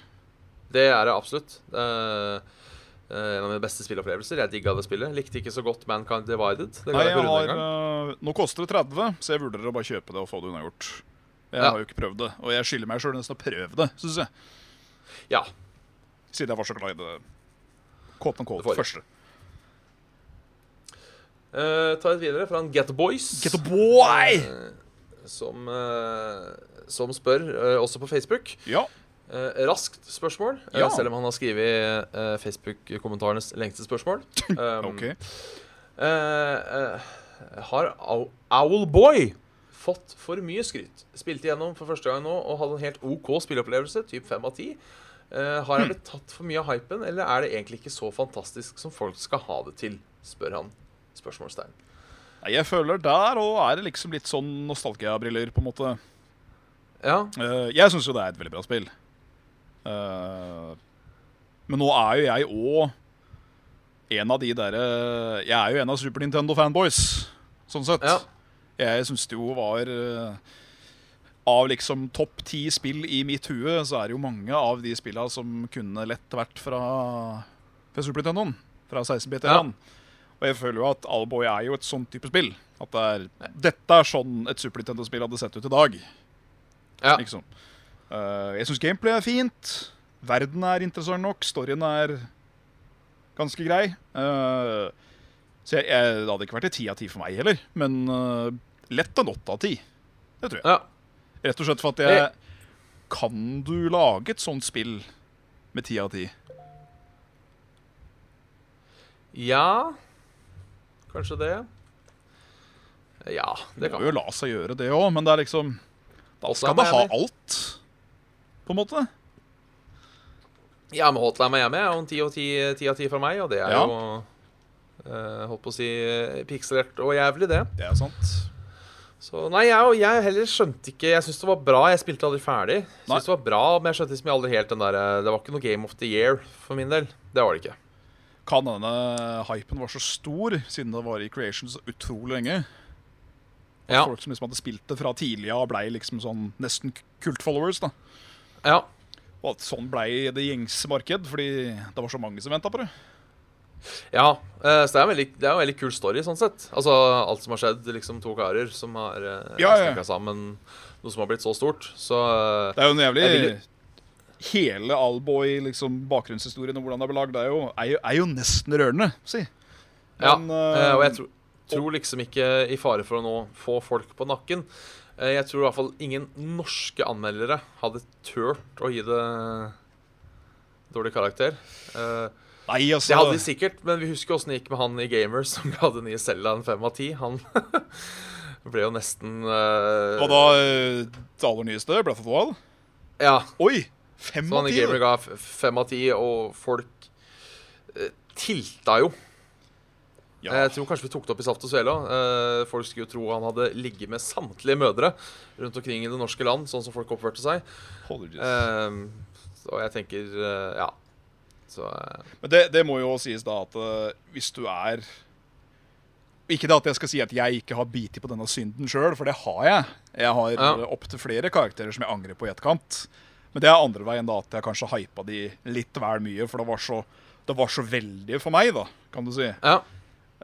B: Det er det absolutt. Det er, eh, en av mine beste spilleopplevelser. Jeg digga det spillet. Likte ikke så godt Mankind Divided. Det
C: Nei,
B: ga jeg
C: jeg
B: på runde en
C: har,
B: gang.
C: øh, nå koster det 30, så jeg vurderer å bare kjøpe det og få det unnagjort. Jeg
B: Ja.
C: har jo ikke prøvd det, og jeg skylder meg sjøl nesten å prøve det, syns jeg.
B: Ja.
C: Siden jeg var så glad i det. Kåpen
B: Det
C: Kåt,
B: forrige.
C: første.
B: Eh, ta et videre fra en Get Boys, eh,
C: Get a boy!
B: som, eh, som spør, eh, også på Facebook.
C: Ja.
B: Eh, raskt spørsmål, eh,
C: Ja.
B: selv om han har skrevet eh, Facebook-kommentarenes lengste spørsmål. Um,
C: OK.
B: eh, eh, har Ow- Owlboy fått for mye skryt? Spilte gjennom for første gang nå og hadde en helt OK spilleopplevelse, typ 5 av 10. Eh, har
C: Hmm.
B: jeg blitt tatt for mye av hypen, eller er det egentlig ikke så fantastisk som folk skal ha det til? spør han. Spørsmålstegn.
C: Nei, Jeg føler der og er det liksom litt sånn nostalgiabriller, på en måte.
B: Ja,
C: Eh, jeg syns jo det er et veldig bra spill. Eh, men nå er jo jeg òg en av de derre Jeg er jo en av Super Nintendo-fanboys, sånn sett.
B: Ja.
C: Jeg syns det jo var eh, Av liksom topp ti spill i mitt hue, så er det jo mange av de spilla som kunne lett vært fra, fra Super Nintendoen. Fra 16-bit
B: Ja.
C: eller annet. Og jeg føler jo at Alboy er jo et sånn type spill. At det er, dette er sånn et Super Nintendo-spill hadde sett ut i dag.
B: ja.
C: Liksom. Eh, jeg syns gameplay er fint. Verden er interessant nok. Storyen er ganske grei. Eh, så jeg, jeg, det hadde ikke vært en ti av ti for meg heller, men eh, lett en åtte av ti. Det tror jeg.
B: ja.
C: Rett og slett for at jeg
B: Eh.
C: Kan du lage et sånt spill med ti av ti?
B: Ja Kanskje det. Ja, Sånn
C: Det
B: det
C: kan
B: kan
C: jo la seg gjøre, det òg, men det er liksom Da skal det ha alt, på en måte.
B: Ja, men Hotline Miami er jo en 10 av 10 10 av 10 fra meg, og det er
C: Ja.
B: jo eh, holdt på å si eh, pikselert og jævlig, det.
C: Det er sant.
B: Så nei, jeg, og jeg heller skjønte ikke Jeg syntes det var bra. Jeg spilte aldri ferdig. Jeg
C: Nei.
B: synes det var bra, Men jeg skjønte liksom aldri helt den der eh, Det var ikke noe Game of the Year for min del. Det var det ikke.
C: Kan hende hypen var så stor siden det var i Creation så utrolig lenge. At
B: Ja.
C: Folk som liksom hadde spilt det fra tidlig av, blei liksom sånn nesten kult-followers. da.
B: ja.
C: Og at sånn blei det gjengse marked, fordi det var så mange som venta på det.
B: ja. eh, så det er, en veldig, det er en veldig kul story, sånn sett. Altså alt som har skjedd, liksom to karer som har uh,
C: Ja, ja.
B: sammen noe som har blitt så stort. Så eh,
C: Det er jo en jævlig
B: Jeg vil
C: Hele Alboy, liksom bakgrunnshistorien og hvordan det ble lagd, er, jo- er, jo- er jo nesten rørende, si.
B: Ja,
C: Men,
B: eh, og jeg
C: eh,
B: tror, tror liksom ikke i fare for å nå få folk på nakken. Eh, Jeg tror i hvert fall ingen norske anmeldere hadde turt å gi det dårlig karakter. Eh,
C: Nei, altså.
B: Det hadde de sikkert, men vi husker åssen det gikk med han i Gamers som ga den nye cella en fem av ti. Han ble jo nesten eh,
C: Og da eh, det aller nyeste, Breath of the Wild.
B: Ja.
C: Oi! Fem
B: Så
C: av
B: han
C: ti.
B: Sånn gamer
C: da.
B: ga f- fem av ti, og folk eh, tilta jo.
C: Ja.
B: Eh, Jeg tror kanskje vi tok det opp i Saft og Svele også. Eh, Folk skulle jo tro han hadde ligget med samtlige mødre rundt omkring i det norske land, sånn som folk oppførte seg.
C: Apologies.
B: Eh, Så jeg tenker eh, Ja. Så eh,
C: Men det, det må jo sies da at eh, hvis du er Ikke det at jeg skal si at jeg ikke har biti på denne synden sjøl, for det har jeg. Jeg har
B: Ja.
C: eh, opptil flere karakterer som jeg angrer på i etterkant. Men det er andre veien da at jeg kanskje hypa de litt vel mye, for det var så, det var så veldig for meg, da, kan du si.
B: Ja.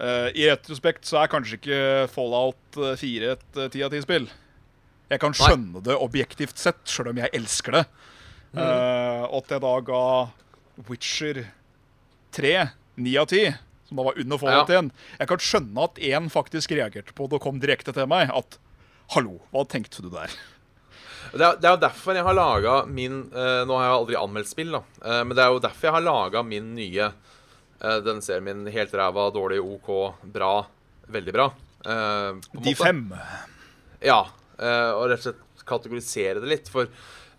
C: Eh, I retrospekt så er kanskje ikke Fallout eh, 4 et eh, 10 av 10 spill. Jeg kan skjønne det objektivt sett, sjøl om jeg elsker det. Eh, og at jeg da ga Witcher 3 9 av 10, som da var under Fallout
B: Ja.
C: 1 Jeg kan skjønne at én faktisk reagerte på det og kom direkte til meg. At Hallo, hva tenkte du der?
B: Det er, det er jo derfor jeg har laga min eh, Nå har jeg aldri anmeldt spill, da. eh, men det er jo derfor jeg har laga min nye uh, Denne serien min helt ræva, dårlig, OK, bra, veldig bra. eh, på en
C: De
B: måte.
C: fem.
B: Ja. eh, og rett og slett kategorisere det litt. For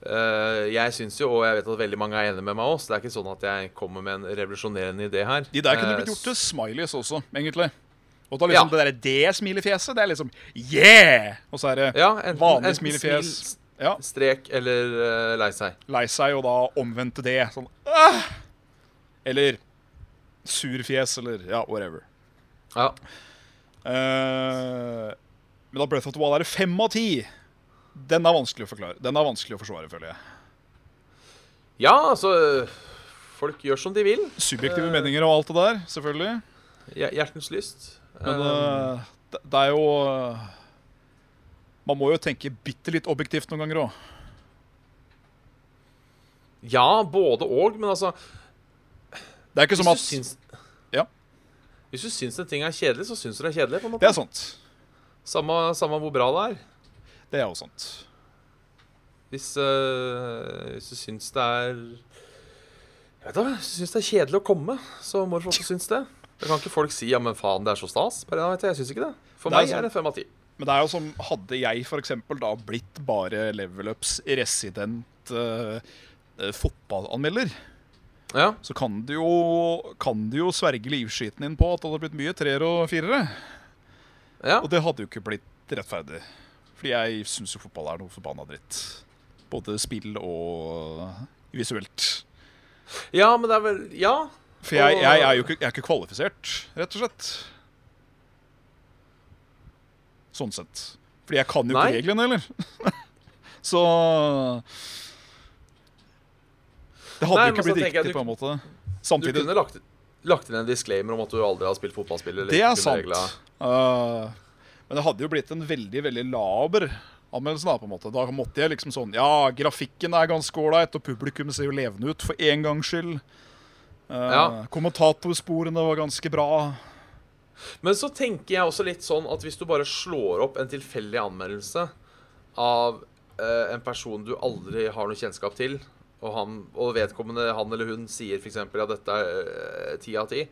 B: eh, jeg syns jo, og jeg vet at veldig mange er enig med meg også, det er ikke sånn at jeg kommer med en revolusjonerende idé her.
C: De der kunne
B: Eh,
C: blitt gjort til smileys også, egentlig. Og da
B: Ja.
C: liksom det der det smilefjeset, det er liksom yeah! Og så er det
B: Ja, enten,
C: vanlig
B: enten
C: smilefjes.
B: smil,
C: Ja.
B: strek eller eh, lei seg.
C: lei seg og da omvendte det. Sånn «Åh!» Eller surfjes, eller ja, whatever.
B: Ja.
C: Eh, men da Breath of the Wild er det fem av ti. Den er vanskelig å forklare. Den er vanskelig å forsvare, føler jeg.
B: ja, altså eh, Folk gjør som de vil.
C: Subjektive
B: Eh.
C: meninger og alt det der, selvfølgelig.
B: Hjer- Hjertens lyst.
C: Men
B: Eh,
C: eh, det, det er jo eh, Man må jo tenke bitte litt objektivt noen ganger òg.
B: ja, både og, men altså
C: Det er ikke
B: hvis
C: som
B: du,
C: at
B: syns,
C: Ja.
B: hvis du syns en ting er kjedelig, så syns du det er kjedelig. på en måte.
C: Det er sant.
B: Samme, samme hvor bra det er.
C: Det er jo sant.
B: Hvis, øh, hvis du syns det er Jeg vet da, hvis du syns det er kjedelig å komme, så må du få lov til å synes det. Da kan ikke folk si 'ja, men faen, det er så stas'. Bare, nei, vet du, jeg syns ikke det. For
C: Det er
B: meg
C: sant.
B: er det fem av ti.
C: Men det er jo som hadde jeg for eksempel da blitt bare level ups resident eh, eh, fotballanmelder,
B: Ja.
C: så kan du jo, kan du jo sverge livskiten din på at det hadde blitt mye treere og firere.
B: ja.
C: Og det hadde jo ikke blitt rettferdig. Fordi jeg syns jo fotball er noe forbanna dritt. Både spill og visuelt.
B: ja, men det er vel Ja.
C: For jeg, jeg er jo ikke, jeg er ikke kvalifisert, rett og slett. Sånn sett. Fordi jeg kan jo
B: Nei.
C: ikke reglene, eller? Så Det hadde
B: Nei,
C: jo ikke
B: men så
C: blitt
B: tenker jeg
C: riktig,
B: du-
C: på en måte.
B: Du
C: Samtidig
B: kunne lagt, lagt inn en disclaimer om at du aldri har spilt fotballspill. eller
C: Det er
B: ikke kunne
C: sant.
B: regler.
C: Eh, men det hadde jo blitt en veldig veldig laber anmeldelse. Da på en måte. Da måtte jeg liksom sånn Ja, grafikken er ganske ålreit, og publikum ser jo levende ut for én gangs skyld. Eh,
B: Ja.
C: Kommentatorsporene var ganske bra.
B: Men så tenker jeg også litt sånn at hvis du bare slår opp en tilfeldig anmeldelse av eh, en person du aldri har noe kjennskap til, og, han, og vedkommende, han eller hun, sier f.eks. at dette er eh, ti av ti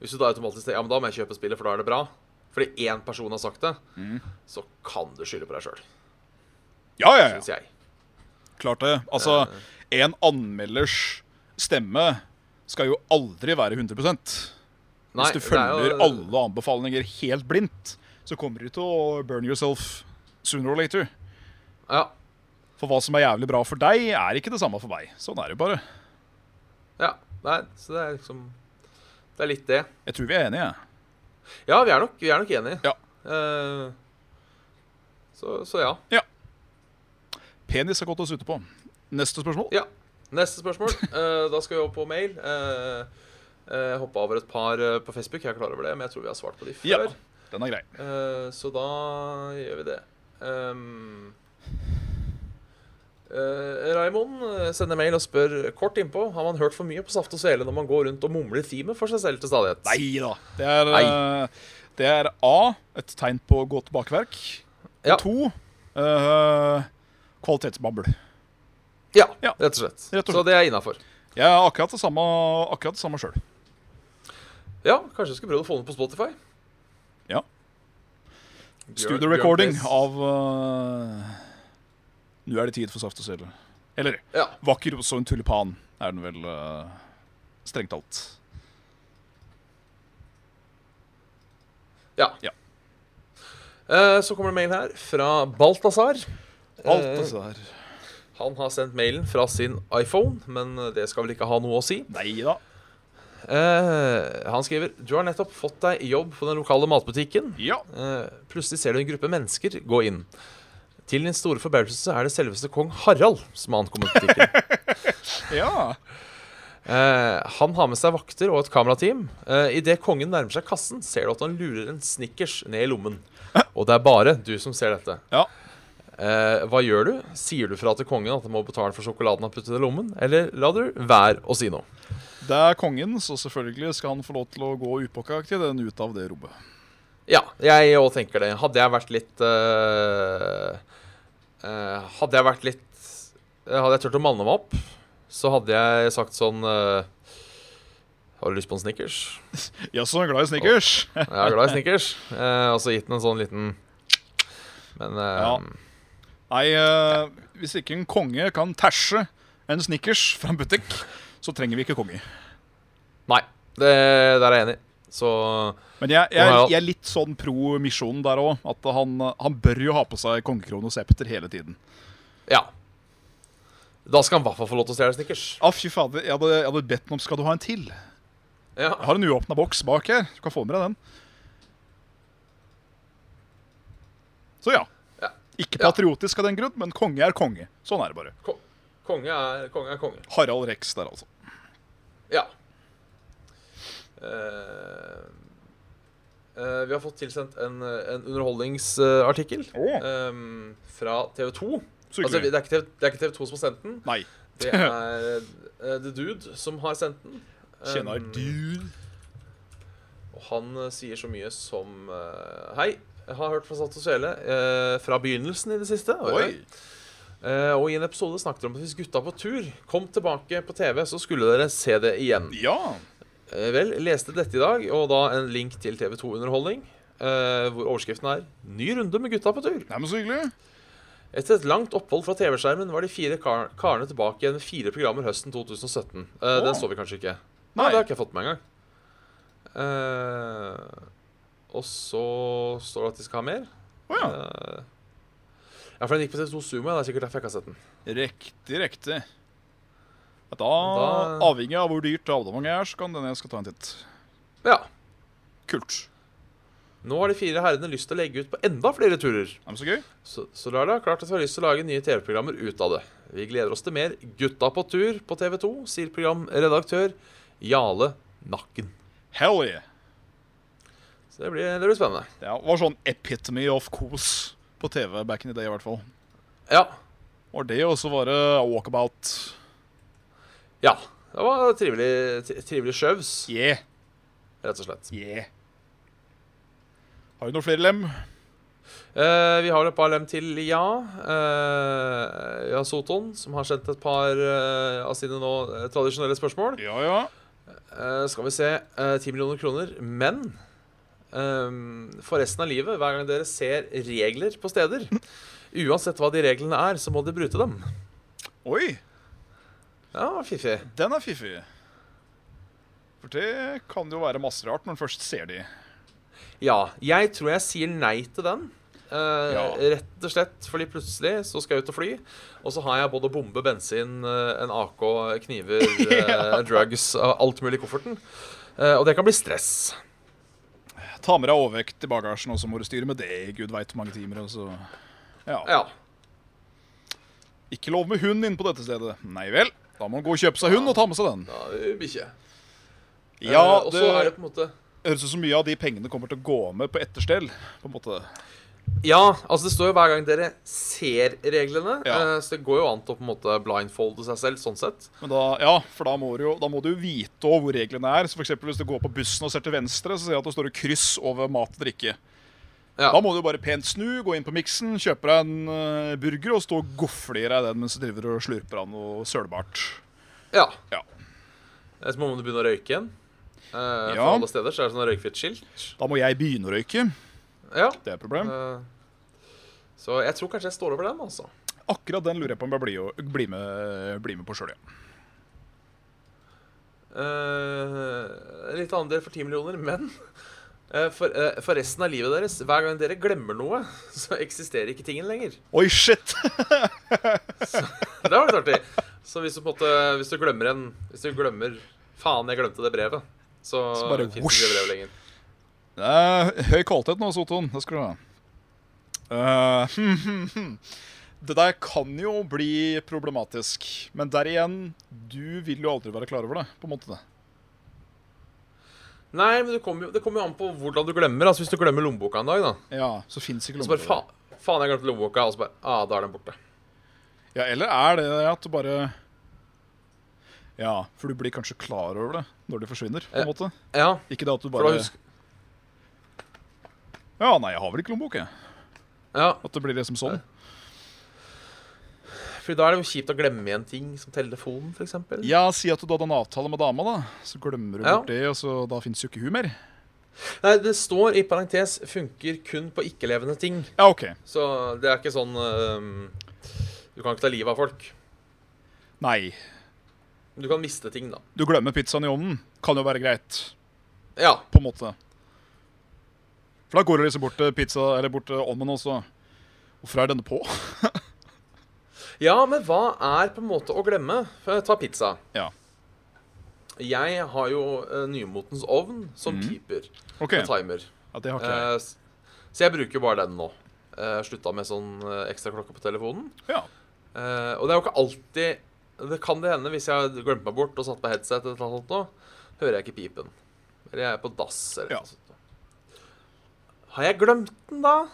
B: Hvis du da automatisk tenker ja, men da må jeg kjøpe spillet, for da er det bra. Fordi én person har sagt det,
C: Mm.
B: så kan du skylde på deg sjøl,
C: Ja, ja, ja.
B: syns jeg.
C: Klart det. Altså, en anmelders stemme skal jo aldri være 100
B: Nei,
C: Hvis du
B: det er jo-
C: følger alle anbefalinger helt blindt, så kommer du til å burn yourself sooner or later.
B: Ja,
C: For hva som er jævlig bra for deg, er ikke det samme for meg. Sånn er det jo bare.
B: ja. Nei, så det er liksom Det er litt det.
C: Jeg tror vi er enige. jeg.
B: Ja, vi er nok, vi er nok enige.
C: Ja.
B: Eh, så, så ja.
C: Penis er godt å sutte på. Neste spørsmål.
B: Ja. Neste spørsmål. Eh, da skal vi over på mail. Uh, jeg hoppa over et par eh, på Facebook, jeg er klar over det, men jeg tror vi har svart på de før.
C: Ja. Den er grei.
B: Eh, så da gjør vi det. Um, eh, Raymond eh, sender mail og spør kort innpå Har man hørt for mye på Saft og Svele når man går rundt og mumler teamet for seg selv til stadighet.
C: Nei da. Det er,
B: Nei.
C: eh, det er A. Et tegn på godt bakverk. Og
B: Ja.
C: To. eh, kvalitetsbabel.
B: Ja,
C: Ja.
B: Rett, og slett.
C: Rett og
B: Så
C: slett.
B: det er innafor.
C: Jeg er akkurat det samme, akkurat det samme sjøl.
B: Ja, kanskje jeg skulle prøvd å få den på Spotify.
C: Ja.
B: Gjør-
C: Studio
B: gjør
C: recording
B: det.
C: av eh, Nå er det tid for Saft og Svele. Eller
B: Ja.
C: vakker også en tulipan, er den vel eh, strengt talt.
B: ja.
C: Ja.
B: Eh, så kommer det mail her fra Balthazar.
C: Alt dette der.
B: Han har sendt mailen fra sin iPhone, men det skal vel ikke ha noe å si.
C: Nei da.
B: Eh, han skriver Du har nettopp fått deg jobb på den lokale matbutikken.
C: Ja.
B: Eh, plutselig ser du en gruppe mennesker gå inn. Til din store forbauselse er det selveste kong Harald som har ankommet butikken.
C: ja.
B: Eh, han har med seg vakter og et kamerateam. Eh, Idet kongen nærmer seg kassen, ser du at han lurer en snickers ned i lommen. Og det er bare du som ser dette.
C: Ja.
B: Eh, hva gjør du? Sier du fra til kongen at han må betale for sjokoladen han har puttet i lommen, eller lar du være å si noe?
C: Det er kongen, så selvfølgelig skal han få lov til å gå upåkaktig den ut av det rommet.
B: Ja, jeg òg tenker det. Hadde jeg vært litt eh, eh, Hadde jeg vært litt eh, Hadde jeg turt å manne meg opp, så hadde jeg sagt sånn eh, Har du lyst på en snickers?
C: Jaså, han er glad i snickers?
B: Jeg er glad i snickers. Eh, og så gitt den en sånn liten Men eh,
C: Ja. Nei, eh, hvis ikke en konge kan tæsje en snickers fra en butikk, så trenger vi ikke konge.
B: nei. Det, der er jeg enig. Så
C: Men jeg, jeg,
B: Ja, ja.
C: jeg er litt sånn pro misjonen der òg. At han, han bør jo ha på seg kongekrone og septer hele tiden.
B: ja. Da skal han i hvert fall få lov til å stjele snickers.
C: Å, fy fader, jeg hadde, jeg hadde bedt ham om skal du ha en til. Jeg
B: Ja.
C: har en uåpna boks bak her. Du kan få med deg den. Så ja.
B: Ja.
C: Ikke
B: Ja.
C: patriotisk av den grunn, men konge er konge. Sånn er det bare.
B: Ko- Konge er konge. Er konge.
C: Harald Rex der, altså.
B: Ja. Eh, eh, vi har fått tilsendt en, eh, en underholdningsartikkel
C: Åh.
B: ehm, fra TV 2.
C: Så
B: Altså,
C: hyggelig.
B: det er ikke TV, det er ikke TV 2 som har sendt den.
C: Nei.
B: Det er eh, The Dude som har sendt den.
C: Kjenner
B: Ehm,
C: du
B: Og han eh, sier så mye som eh, Hei, jeg har hørt fra Satt og Svele eh, fra begynnelsen i det siste.
C: Oi.
B: Eh, og i en episode snakket de om at hvis gutta på tur kom tilbake på TV, så skulle dere se det igjen.
C: Ja.
B: Eh, Vel, leste dette i dag, og da en link til TV2 Underholdning, eh, hvor overskriften er 'Ny runde med gutta på tur'.
C: Nei, men så hyggelig.
B: Etter et langt opphold fra TV-skjermen var de fire kar karene tilbake igjen med fire programmer høsten 2017. Eh, Den
C: Å.
B: så vi kanskje ikke. Nei,
C: Nei.
B: det har ikke jeg fått med engang. Eh, og så står det at de skal ha mer.
C: Å ja.
B: Eh, ja, for den gikk på TV2 Sumo. ja, Det er sikkert derfor jeg ikke har sett den.
C: Riktig, riktig. Da,
B: Da-
C: avhengig av hvor dyrt abonnementet er, så kan denne jeg skal ta en titt.
B: Ja.
C: Kult.
B: Nå har de fire herrene lyst til å legge ut på enda flere turer.
C: Er det så gøy?
B: Så, så da er det klart at vi har lyst til å lage nye TV-programmer ut av det. Vi gleder oss til mer Gutta på tur på TV 2, sier programredaktør Jale Nakken.
C: Hell yeah.
B: Så det blir, det blir spennende.
C: Det var sånn epitome of kos på TV back in the day, i hvert fall.
B: Ja.
C: Var det også bare walkabout?
B: ja. Det var trivelig, tri- trivelig sjøvs,
C: Yeah.
B: rett og slett.
C: Yeah. Har du noen flere lem?
B: Eh, vi har et par lem til, ja. Eh, ja, Soton, som har sendt et par eh, av sine nå eh, tradisjonelle spørsmål.
C: Ja, ja.
B: Eh, skal vi se. eh, 10 millioner kroner. Men eh, for resten av livet, hver gang dere ser regler på steder, uansett hva de reglene er, så må dere bryte dem.
C: Oi,
B: Ja, fiffig.
C: den er fiffig. For det kan jo være masse rart når en først ser de.
B: Ja, jeg tror jeg sier nei til den. Eh,
C: Ja.
B: Rett og slett fordi plutselig så skal jeg ut og fly, og så har jeg både bombe, bensin, eh, en AK, kniver, eh, drugs, eh, alt mulig i kofferten. Eh, og det kan bli stress.
C: Ta med deg overvekt i bagasjen, og så må du styre med det i gud veit hvor mange timer. Og så. Ja.
B: Ja.
C: Ikke lov med hund inne på dette stedet. Nei vel. Da må man gå og kjøpe seg hund og ta med seg den.
B: Da er vi bikkje.
C: Ja,
B: Eh, og
C: det
B: så er det på en måte
C: høres ut som mye av de pengene kommer til å gå med på etterstell. på en måte.
B: Ja, altså det står jo hver gang dere ser reglene,
C: Ja.
B: eh, så det går jo an til å på en måte blindfolde seg selv sånn sett.
C: Men da, ja, for da må du jo da må du jo vite også hvor reglene er. Så for eksempel Hvis du går på bussen og ser til venstre, så ser jeg at det står et kryss over mat og drikke.
B: Ja.
C: Da må du jo bare pent snu, gå inn på miksen, kjøpe deg en eh, burger og stå og gofle i deg den mens du driver og slurper av noe sølbart.
B: Ja.
C: Ja.
B: Eh, Så må man begynne å røyke igjen. Eh, For
C: Ja.
B: alle steder så er det sånn røykfritt skilt.
C: Da må jeg begynne å røyke.
B: Ja.
C: Det er et problem.
B: eh, Så jeg tror kanskje jeg står over den, altså.
C: Akkurat den lurer jeg på om jeg blir, jo- blir, med, blir med på sjøl, ja.
B: Eh, en litt annen del for 10 millioner, men eh, for, eh, for resten av livet deres, hver gang dere glemmer noe, så eksisterer ikke tingen lenger.
C: Oi, shit!
B: Det var litt artig. Så hvis du på en måte Hvis du glemmer en Hvis du glemmer Faen, jeg glemte det brevet. Så,
C: Så bare
B: finnes
C: whoosh.
B: ikke det brevet lenger.
C: Det er høy kvalitet nå, Soton. Det skal du ha. Eh, det der kan jo bli problematisk, men der igjen, du vil jo aldri være klar over det. på en måte.
B: Nei, men det kommer jo, det kommer jo an på hvordan du glemmer. Altså Hvis du glemmer lommeboka en dag, da.
C: Ja, så finnes ikke
B: Og så bare
C: lommeboka.
B: faen, faen, jeg glemte lommeboka. Og så bare Ah, da er den borte.
C: Ja, eller er det at du bare Ja, for du blir kanskje klar over det når det forsvinner. på en
B: Ja.
C: måte.
B: Ja,
C: Ikke det at du
B: for
C: bare
B: da husker
C: Ja, nei, jeg har vel ikke lommebok, jeg.
B: Ja,
C: At det blir liksom sånn.
B: for da er det jo kjipt å glemme igjen ting, som telefonen, for eksempel.
C: Ja, si at du hadde en avtale med dama, da. Så glemmer du
B: Ja.
C: bort det, og så da fins jo ikke hun mer.
B: Nei, det står i parentes 'funker kun på ikke-levende ting'.
C: Ja, OK.
B: Så det er ikke sånn ehm, Du kan ikke ta livet av folk.
C: Nei.
B: Du kan miste ting, da.
C: Du glemmer pizzaen i ovnen. Kan jo være greit,
B: Ja.
C: på en måte. For da går det liksom bort til pizza, eller bort til ovnen også. Hvorfor er denne på?
B: Ja, men hva er på en måte å glemme? Eh, Ta pizza.
C: Ja.
B: Jeg har jo eh, nymotens ovn som
C: Mhm.
B: piper
C: OK.
B: og timer.
C: Ja, det har ikke jeg.
B: Eh, s- så jeg bruker jo bare den nå. Eh, slutta med sånn eh, ekstra klokke på telefonen.
C: Ja.
B: Eh, og det er jo ikke alltid Det kan det hende hvis jeg glemte meg bort og satt på headset, eller noe sånt, nå, hører jeg ikke pipen. Eller jeg er på dass. eller
C: Ja.
B: noe sånt. Har jeg glemt den, da?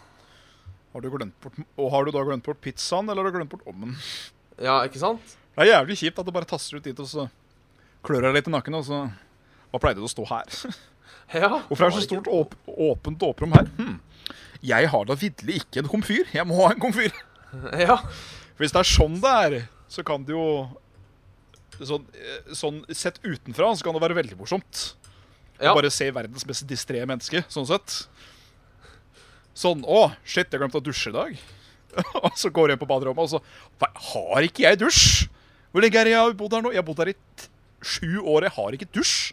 C: Har du glemt bort, og har du da glemt bort pizzaen, eller har du glemt bort ovnen?
B: Ja, ikke sant?
C: Det er jævlig kjipt at du bare tasser ut dit, og så klør deg litt i nakken, og så Hva pleide det å stå her?
B: Ja.
C: Hvorfor er det så stort åp åpent dåperom her? Hm. Jeg har da vitterlig ikke en komfyr. Jeg må ha en komfyr.
B: Ja.
C: For hvis det er sånn det er, så kan det jo Sånn, eh, sånn sett utenfra så kan det være veldig morsomt.
B: ja.
C: Bare se verdens mest distré menneske, sånn sett. Sånn Å, shit, jeg glemte å dusje i dag. og så går jeg inn på baderommet, og så «Hva, Har ikke jeg dusj? Hvor lenge er det jeg har bodd her nå? Jeg har bodd her i t- sju år, jeg har ikke dusj.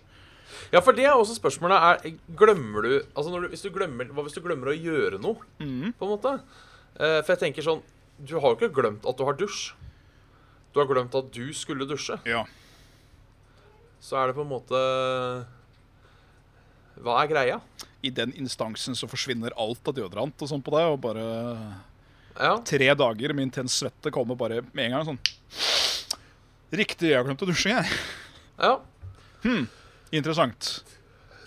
B: Ja, for det er også spørsmålet er Glemmer du Altså når du, hvis du glemmer, Hva hvis du glemmer å gjøre noe,
C: Mm.
B: på en måte? Eh, for jeg tenker sånn Du har jo ikke glemt at du har dusj. Du har glemt at du skulle dusje.
C: Ja.
B: Så er det på en måte Hva er greia?
C: I den instansen så forsvinner alt av deodorant og sånn på deg, og bare
B: Ja.
C: tre dager med intens svette kommer bare med en gang sånn Riktig, jeg glemte å dusje, jeg.
B: ja.
C: Interessant.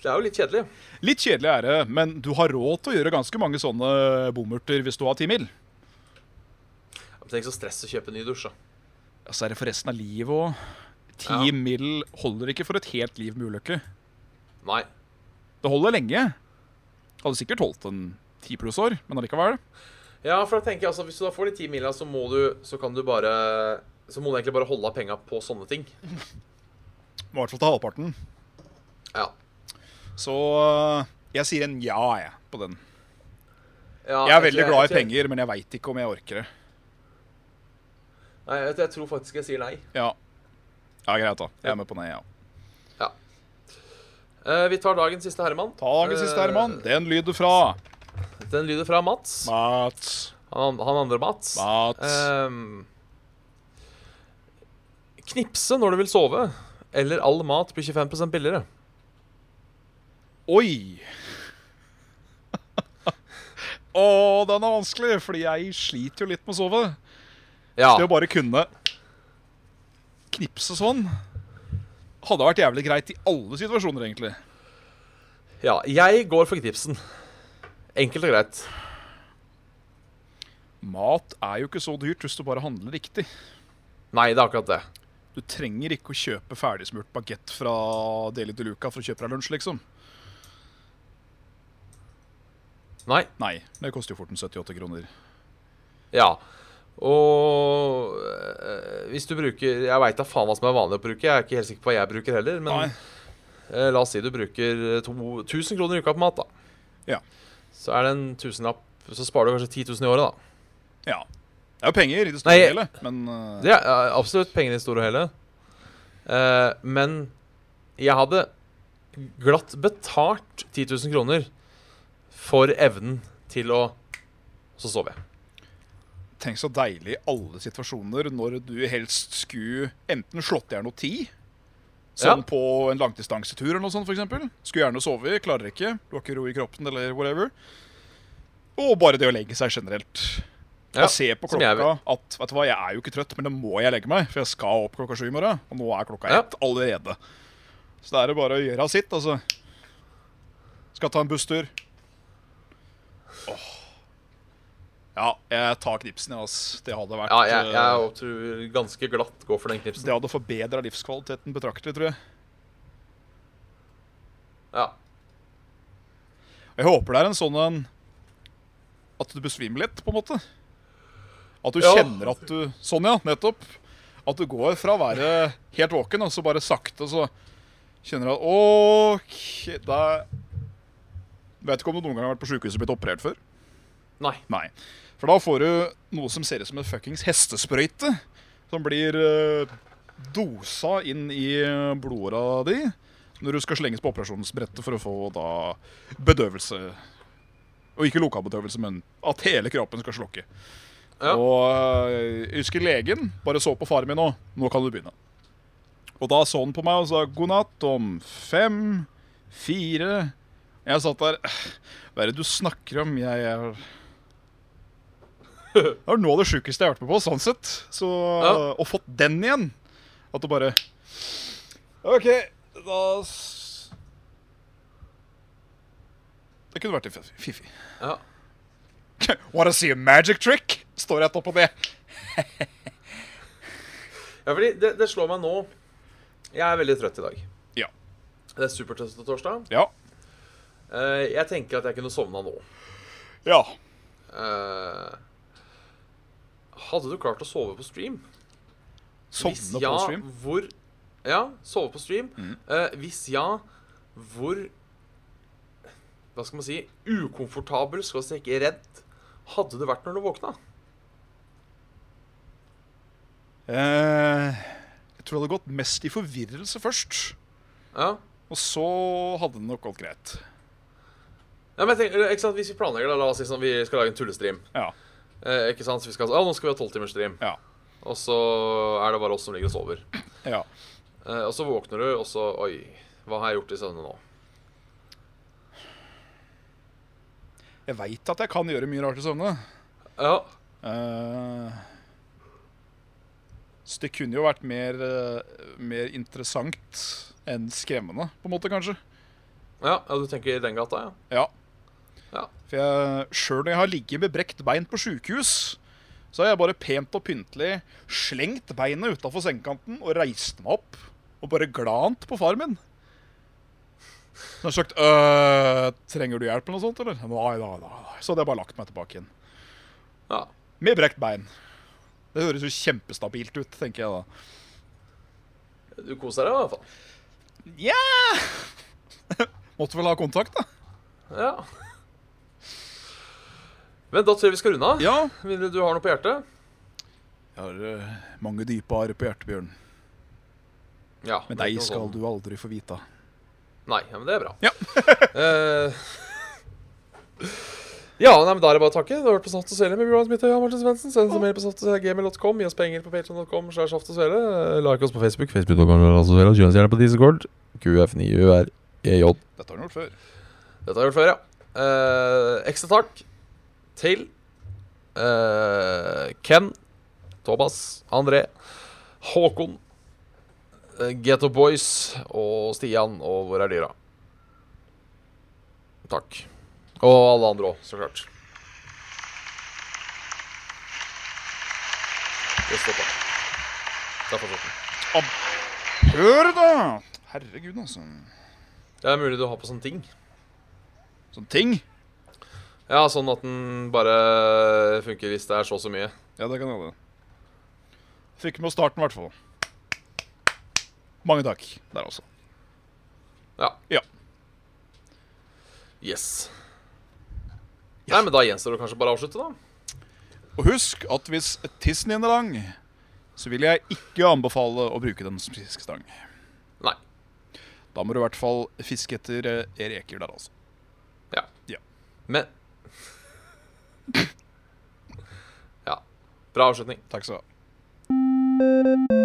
B: Det er jo litt kjedelig.
C: Litt kjedelig er det, men du har råd til å gjøre ganske mange sånne bomurter hvis du har ti mil.
B: Tenk så stress å kjøpe ny dusj, da.
C: Ja, så er det for resten av livet òg. Ti
B: Ja.
C: mil holder ikke for et helt liv med ulykke.
B: Nei.
C: Det holder lenge. Hadde sikkert holdt en ti pluss år, men allikevel.
B: Ja, for da tenker jeg altså Hvis du da får de ti mila, så må du Så kan du bare Så må du egentlig bare holde av penga på sånne ting.
C: I hvert fall til halvparten.
B: Ja.
C: Så øh, jeg sier en ja, jeg, på den.
B: Ja,
C: Jeg er
B: altså,
C: veldig glad i
B: jeg-
C: penger, men jeg veit ikke om jeg orker det.
B: Nei, jeg, jeg tror faktisk jeg sier nei.
C: Ja. ja, greit, da. Jeg er med på nei, ja.
B: Ja. Eh, vi tar dagens siste herremann.
C: Ta dagens siste,
B: Eh,
C: Herman. Den lyder fra
B: Den lyder fra Mats.
C: Mats.
B: Han, han andre Mats.
C: Mats.
B: Ehm, knipse når du vil sove, eller all mat blir 25 billigere.
C: Oi! Å, den er vanskelig, fordi jeg sliter jo litt med å sove.
B: Ja.
C: Det å bare kunne knipse sånn hadde vært jævlig greit i alle situasjoner, egentlig.
B: ja. Jeg går for knipsen. Enkelt og greit.
C: Mat er jo ikke så dyrt hvis du bare handler riktig.
B: Nei, det er akkurat det.
C: Du trenger ikke å kjøpe ferdigsmurt bagett fra Deli de Luca for å kjøpe deg lunsj, liksom.
B: Nei.
C: Nei, det koster jo fort en 78 kroner.
B: Ja. Og eh, hvis du bruker Jeg veit da faen hva som er vanlig å bruke. Jeg er ikke helt sikker på hva jeg bruker heller, men
C: Nei.
B: Eh, La oss si du bruker 1000 kroner i uka på mat, da.
C: Ja.
B: Så er det en tusenlapp, så sparer du kanskje 10 000 i året, da.
C: Ja. Det er jo penger i det store
B: Nei,
C: hele, men eh,
B: Det er eh, absolutt penger i det store og hele. Eh, men jeg hadde glatt betalt 10 000 kroner for evnen til å Så sov jeg.
C: Tenk så deilig i alle situasjoner når du helst skulle enten slått i hjel noe tid, sånn
B: Ja.
C: på en langdistansetur eller noe sånt, for eksempel. Skulle gjerne sove, klarer ikke, du har ikke ro i kroppen eller whatever. Og bare det å legge seg generelt.
B: Ja,
C: Ja, se på
B: som jeg
C: klokka at vet du hva, jeg er jo ikke trøtt, men det må jeg legge meg, for jeg skal opp klokka sju i morgen. Og nå er klokka
B: Ja.
C: ett allerede. Så da er det bare å gjøre sitt, altså. Skal ta en busstur. Åh. Ja, jeg tar knipsen, jeg, ass. Det hadde vært
B: Ja, jeg,
C: eh,
B: jeg tror ganske glatt går for den knipsen.
C: Det hadde forbedra livskvaliteten betraktelig, tror jeg.
B: Ja.
C: Jeg håper det er en sånn en At du besvimer litt, på en måte. At du
B: Ja.
C: kjenner at du Sånn, ja. Nettopp. At du går fra å være helt våken, og så bare sakte så kjenner du at OK, da Vet ikke om du noen gang har vært på sjukehuset og blitt operert før.
B: Nei.
C: Nei. For da får du noe som ser ut som en fuckings hestesprøyte. Som blir eh, dosa inn i eh, blodåra di når du skal slenges på operasjonsbrettet for å få da bedøvelse. Og ikke lokalbedøvelse, men at hele kroppen skal slokke.
B: Ja.
C: Og eh, jeg husker legen bare så på faren min nå. Nå kan du begynne. Og da så han på meg og sa god natt om fem, fire Jeg satt der Hva er det du snakker om? Jeg er Det var noe av det sjukeste jeg har vært med på, sånn sett. Så
B: Ja.
C: Og fått den igjen. At du bare OK, da s- Det kunne vært litt fiff- fiffig.
B: Ja.
C: Wanna see a magic trick? Står rett oppå det.
B: Ja, fordi det, det slår meg nå Jeg er veldig trøtt i dag.
C: Ja.
B: Det er supertøft torsdag.
C: Ja.
B: Eh, jeg tenker at jeg kunne sovna nå.
C: Ja.
B: Eh, hadde du klart å sove på stream? Hvis
C: Sovne
B: ja,
C: på stream. Mm.
B: Hvor Ja, sove på stream. Eh, hvis ja, hvor Hva skal man si Ukomfortabel, skal vi si ikke redd, hadde du vært når du våkna?
C: Eh, jeg tror det hadde gått mest i forvirrelse først.
B: Ja.
C: Og så hadde det nok gått greit.
B: Ja, men jeg tenker, ikke sant, Hvis vi planlegger, da, la oss si sånn, vi skal lage en tullestream.
C: Ja.
B: Eh, ikke sant, så vi skal, ah, Nå skal vi ha tolvtimersstream.
C: Ja.
B: Og så er det bare oss som ligger og sover.
C: ja.
B: Eh, og så våkner du, og så Oi, hva har jeg gjort i søvne nå?
C: Jeg veit at jeg kan gjøre mye rart i søvne.
B: Ja,
C: Eh, så det kunne jo vært mer, eh, mer interessant enn skremmende, på en måte, kanskje.
B: ja, ja du tenker i den gata, ja?
C: Ja.
B: Ja.
C: For jeg, selv når jeg har ligget med brekt bein på sykehus, så har jeg bare pent og pyntelig slengt beinet utenfor sengekanten og reist meg opp og bare glant på far min. Så har jeg sagt, øh, trenger du hjelp eller noe sånt, eller? Nei, nei, nei. nei. Så hadde jeg bare lagt meg tilbake igjen.
B: Ja.
C: Med brekt bein. Det høres jo kjempestabilt ut, tenker jeg da.
B: Du koser deg i hvert fall.
C: Ja! Måtte vel ha kontakt da?
B: Ja. Men da tror jeg vi skal runde av.
C: Ja.
B: Mindre du har noe på hjertet?
C: Jeg har eh, mange dype arre på hjertebjørn.
B: Ja. sånn.
C: Men deg skal du aldri få vite.
B: Nei, ja, men det er bra.
C: Ja.
B: Eh, ja, nei, men da er det bare å takke. Du har vært på Saft og Svele med Bjørn Smitte og Martin Svendsen. Send oss en mail på saftogsvelegmail.com. Gi oss penger på patreon.com. slash Saft og Svele. Eh, Like oss på Facebook. Facebook.com. Saft og Svele. Join oss gjerne på Discord. QF9UREJ.
C: Dette har du gjort før.
B: Dette har jeg gjort før, ja. Eh, ekstra takk til eh, Ken, Thomas, André, Håkon, eh, Ghetto Boys og Stian og Hvor er dyra? Takk. Og alle andre òg, så klart. Det stoppa. Der fortsatte den.
C: Hør da! Herregud, altså.
B: Det er mulig du har på sånne ting.
C: Sånn ting.
B: Ja, sånn at den bare funker hvis det er så og så mye.
C: Ja, det kan hende. Fikk med oss starten, i hvert fall. Mange takk der også.
B: Ja.
C: Ja.
B: Yes. Nei, men da gjenstår det kanskje bare å avslutte, da.
C: Og husk at hvis tissen din er lang, så vil jeg ikke anbefale å bruke den som fiskestang.
B: Nei.
C: Da må du i hvert fall fiske etter eh, reker der, altså.
B: Ja.
C: Ja.
B: Men Ja. Bra avslutning.
C: Takk skal du ha.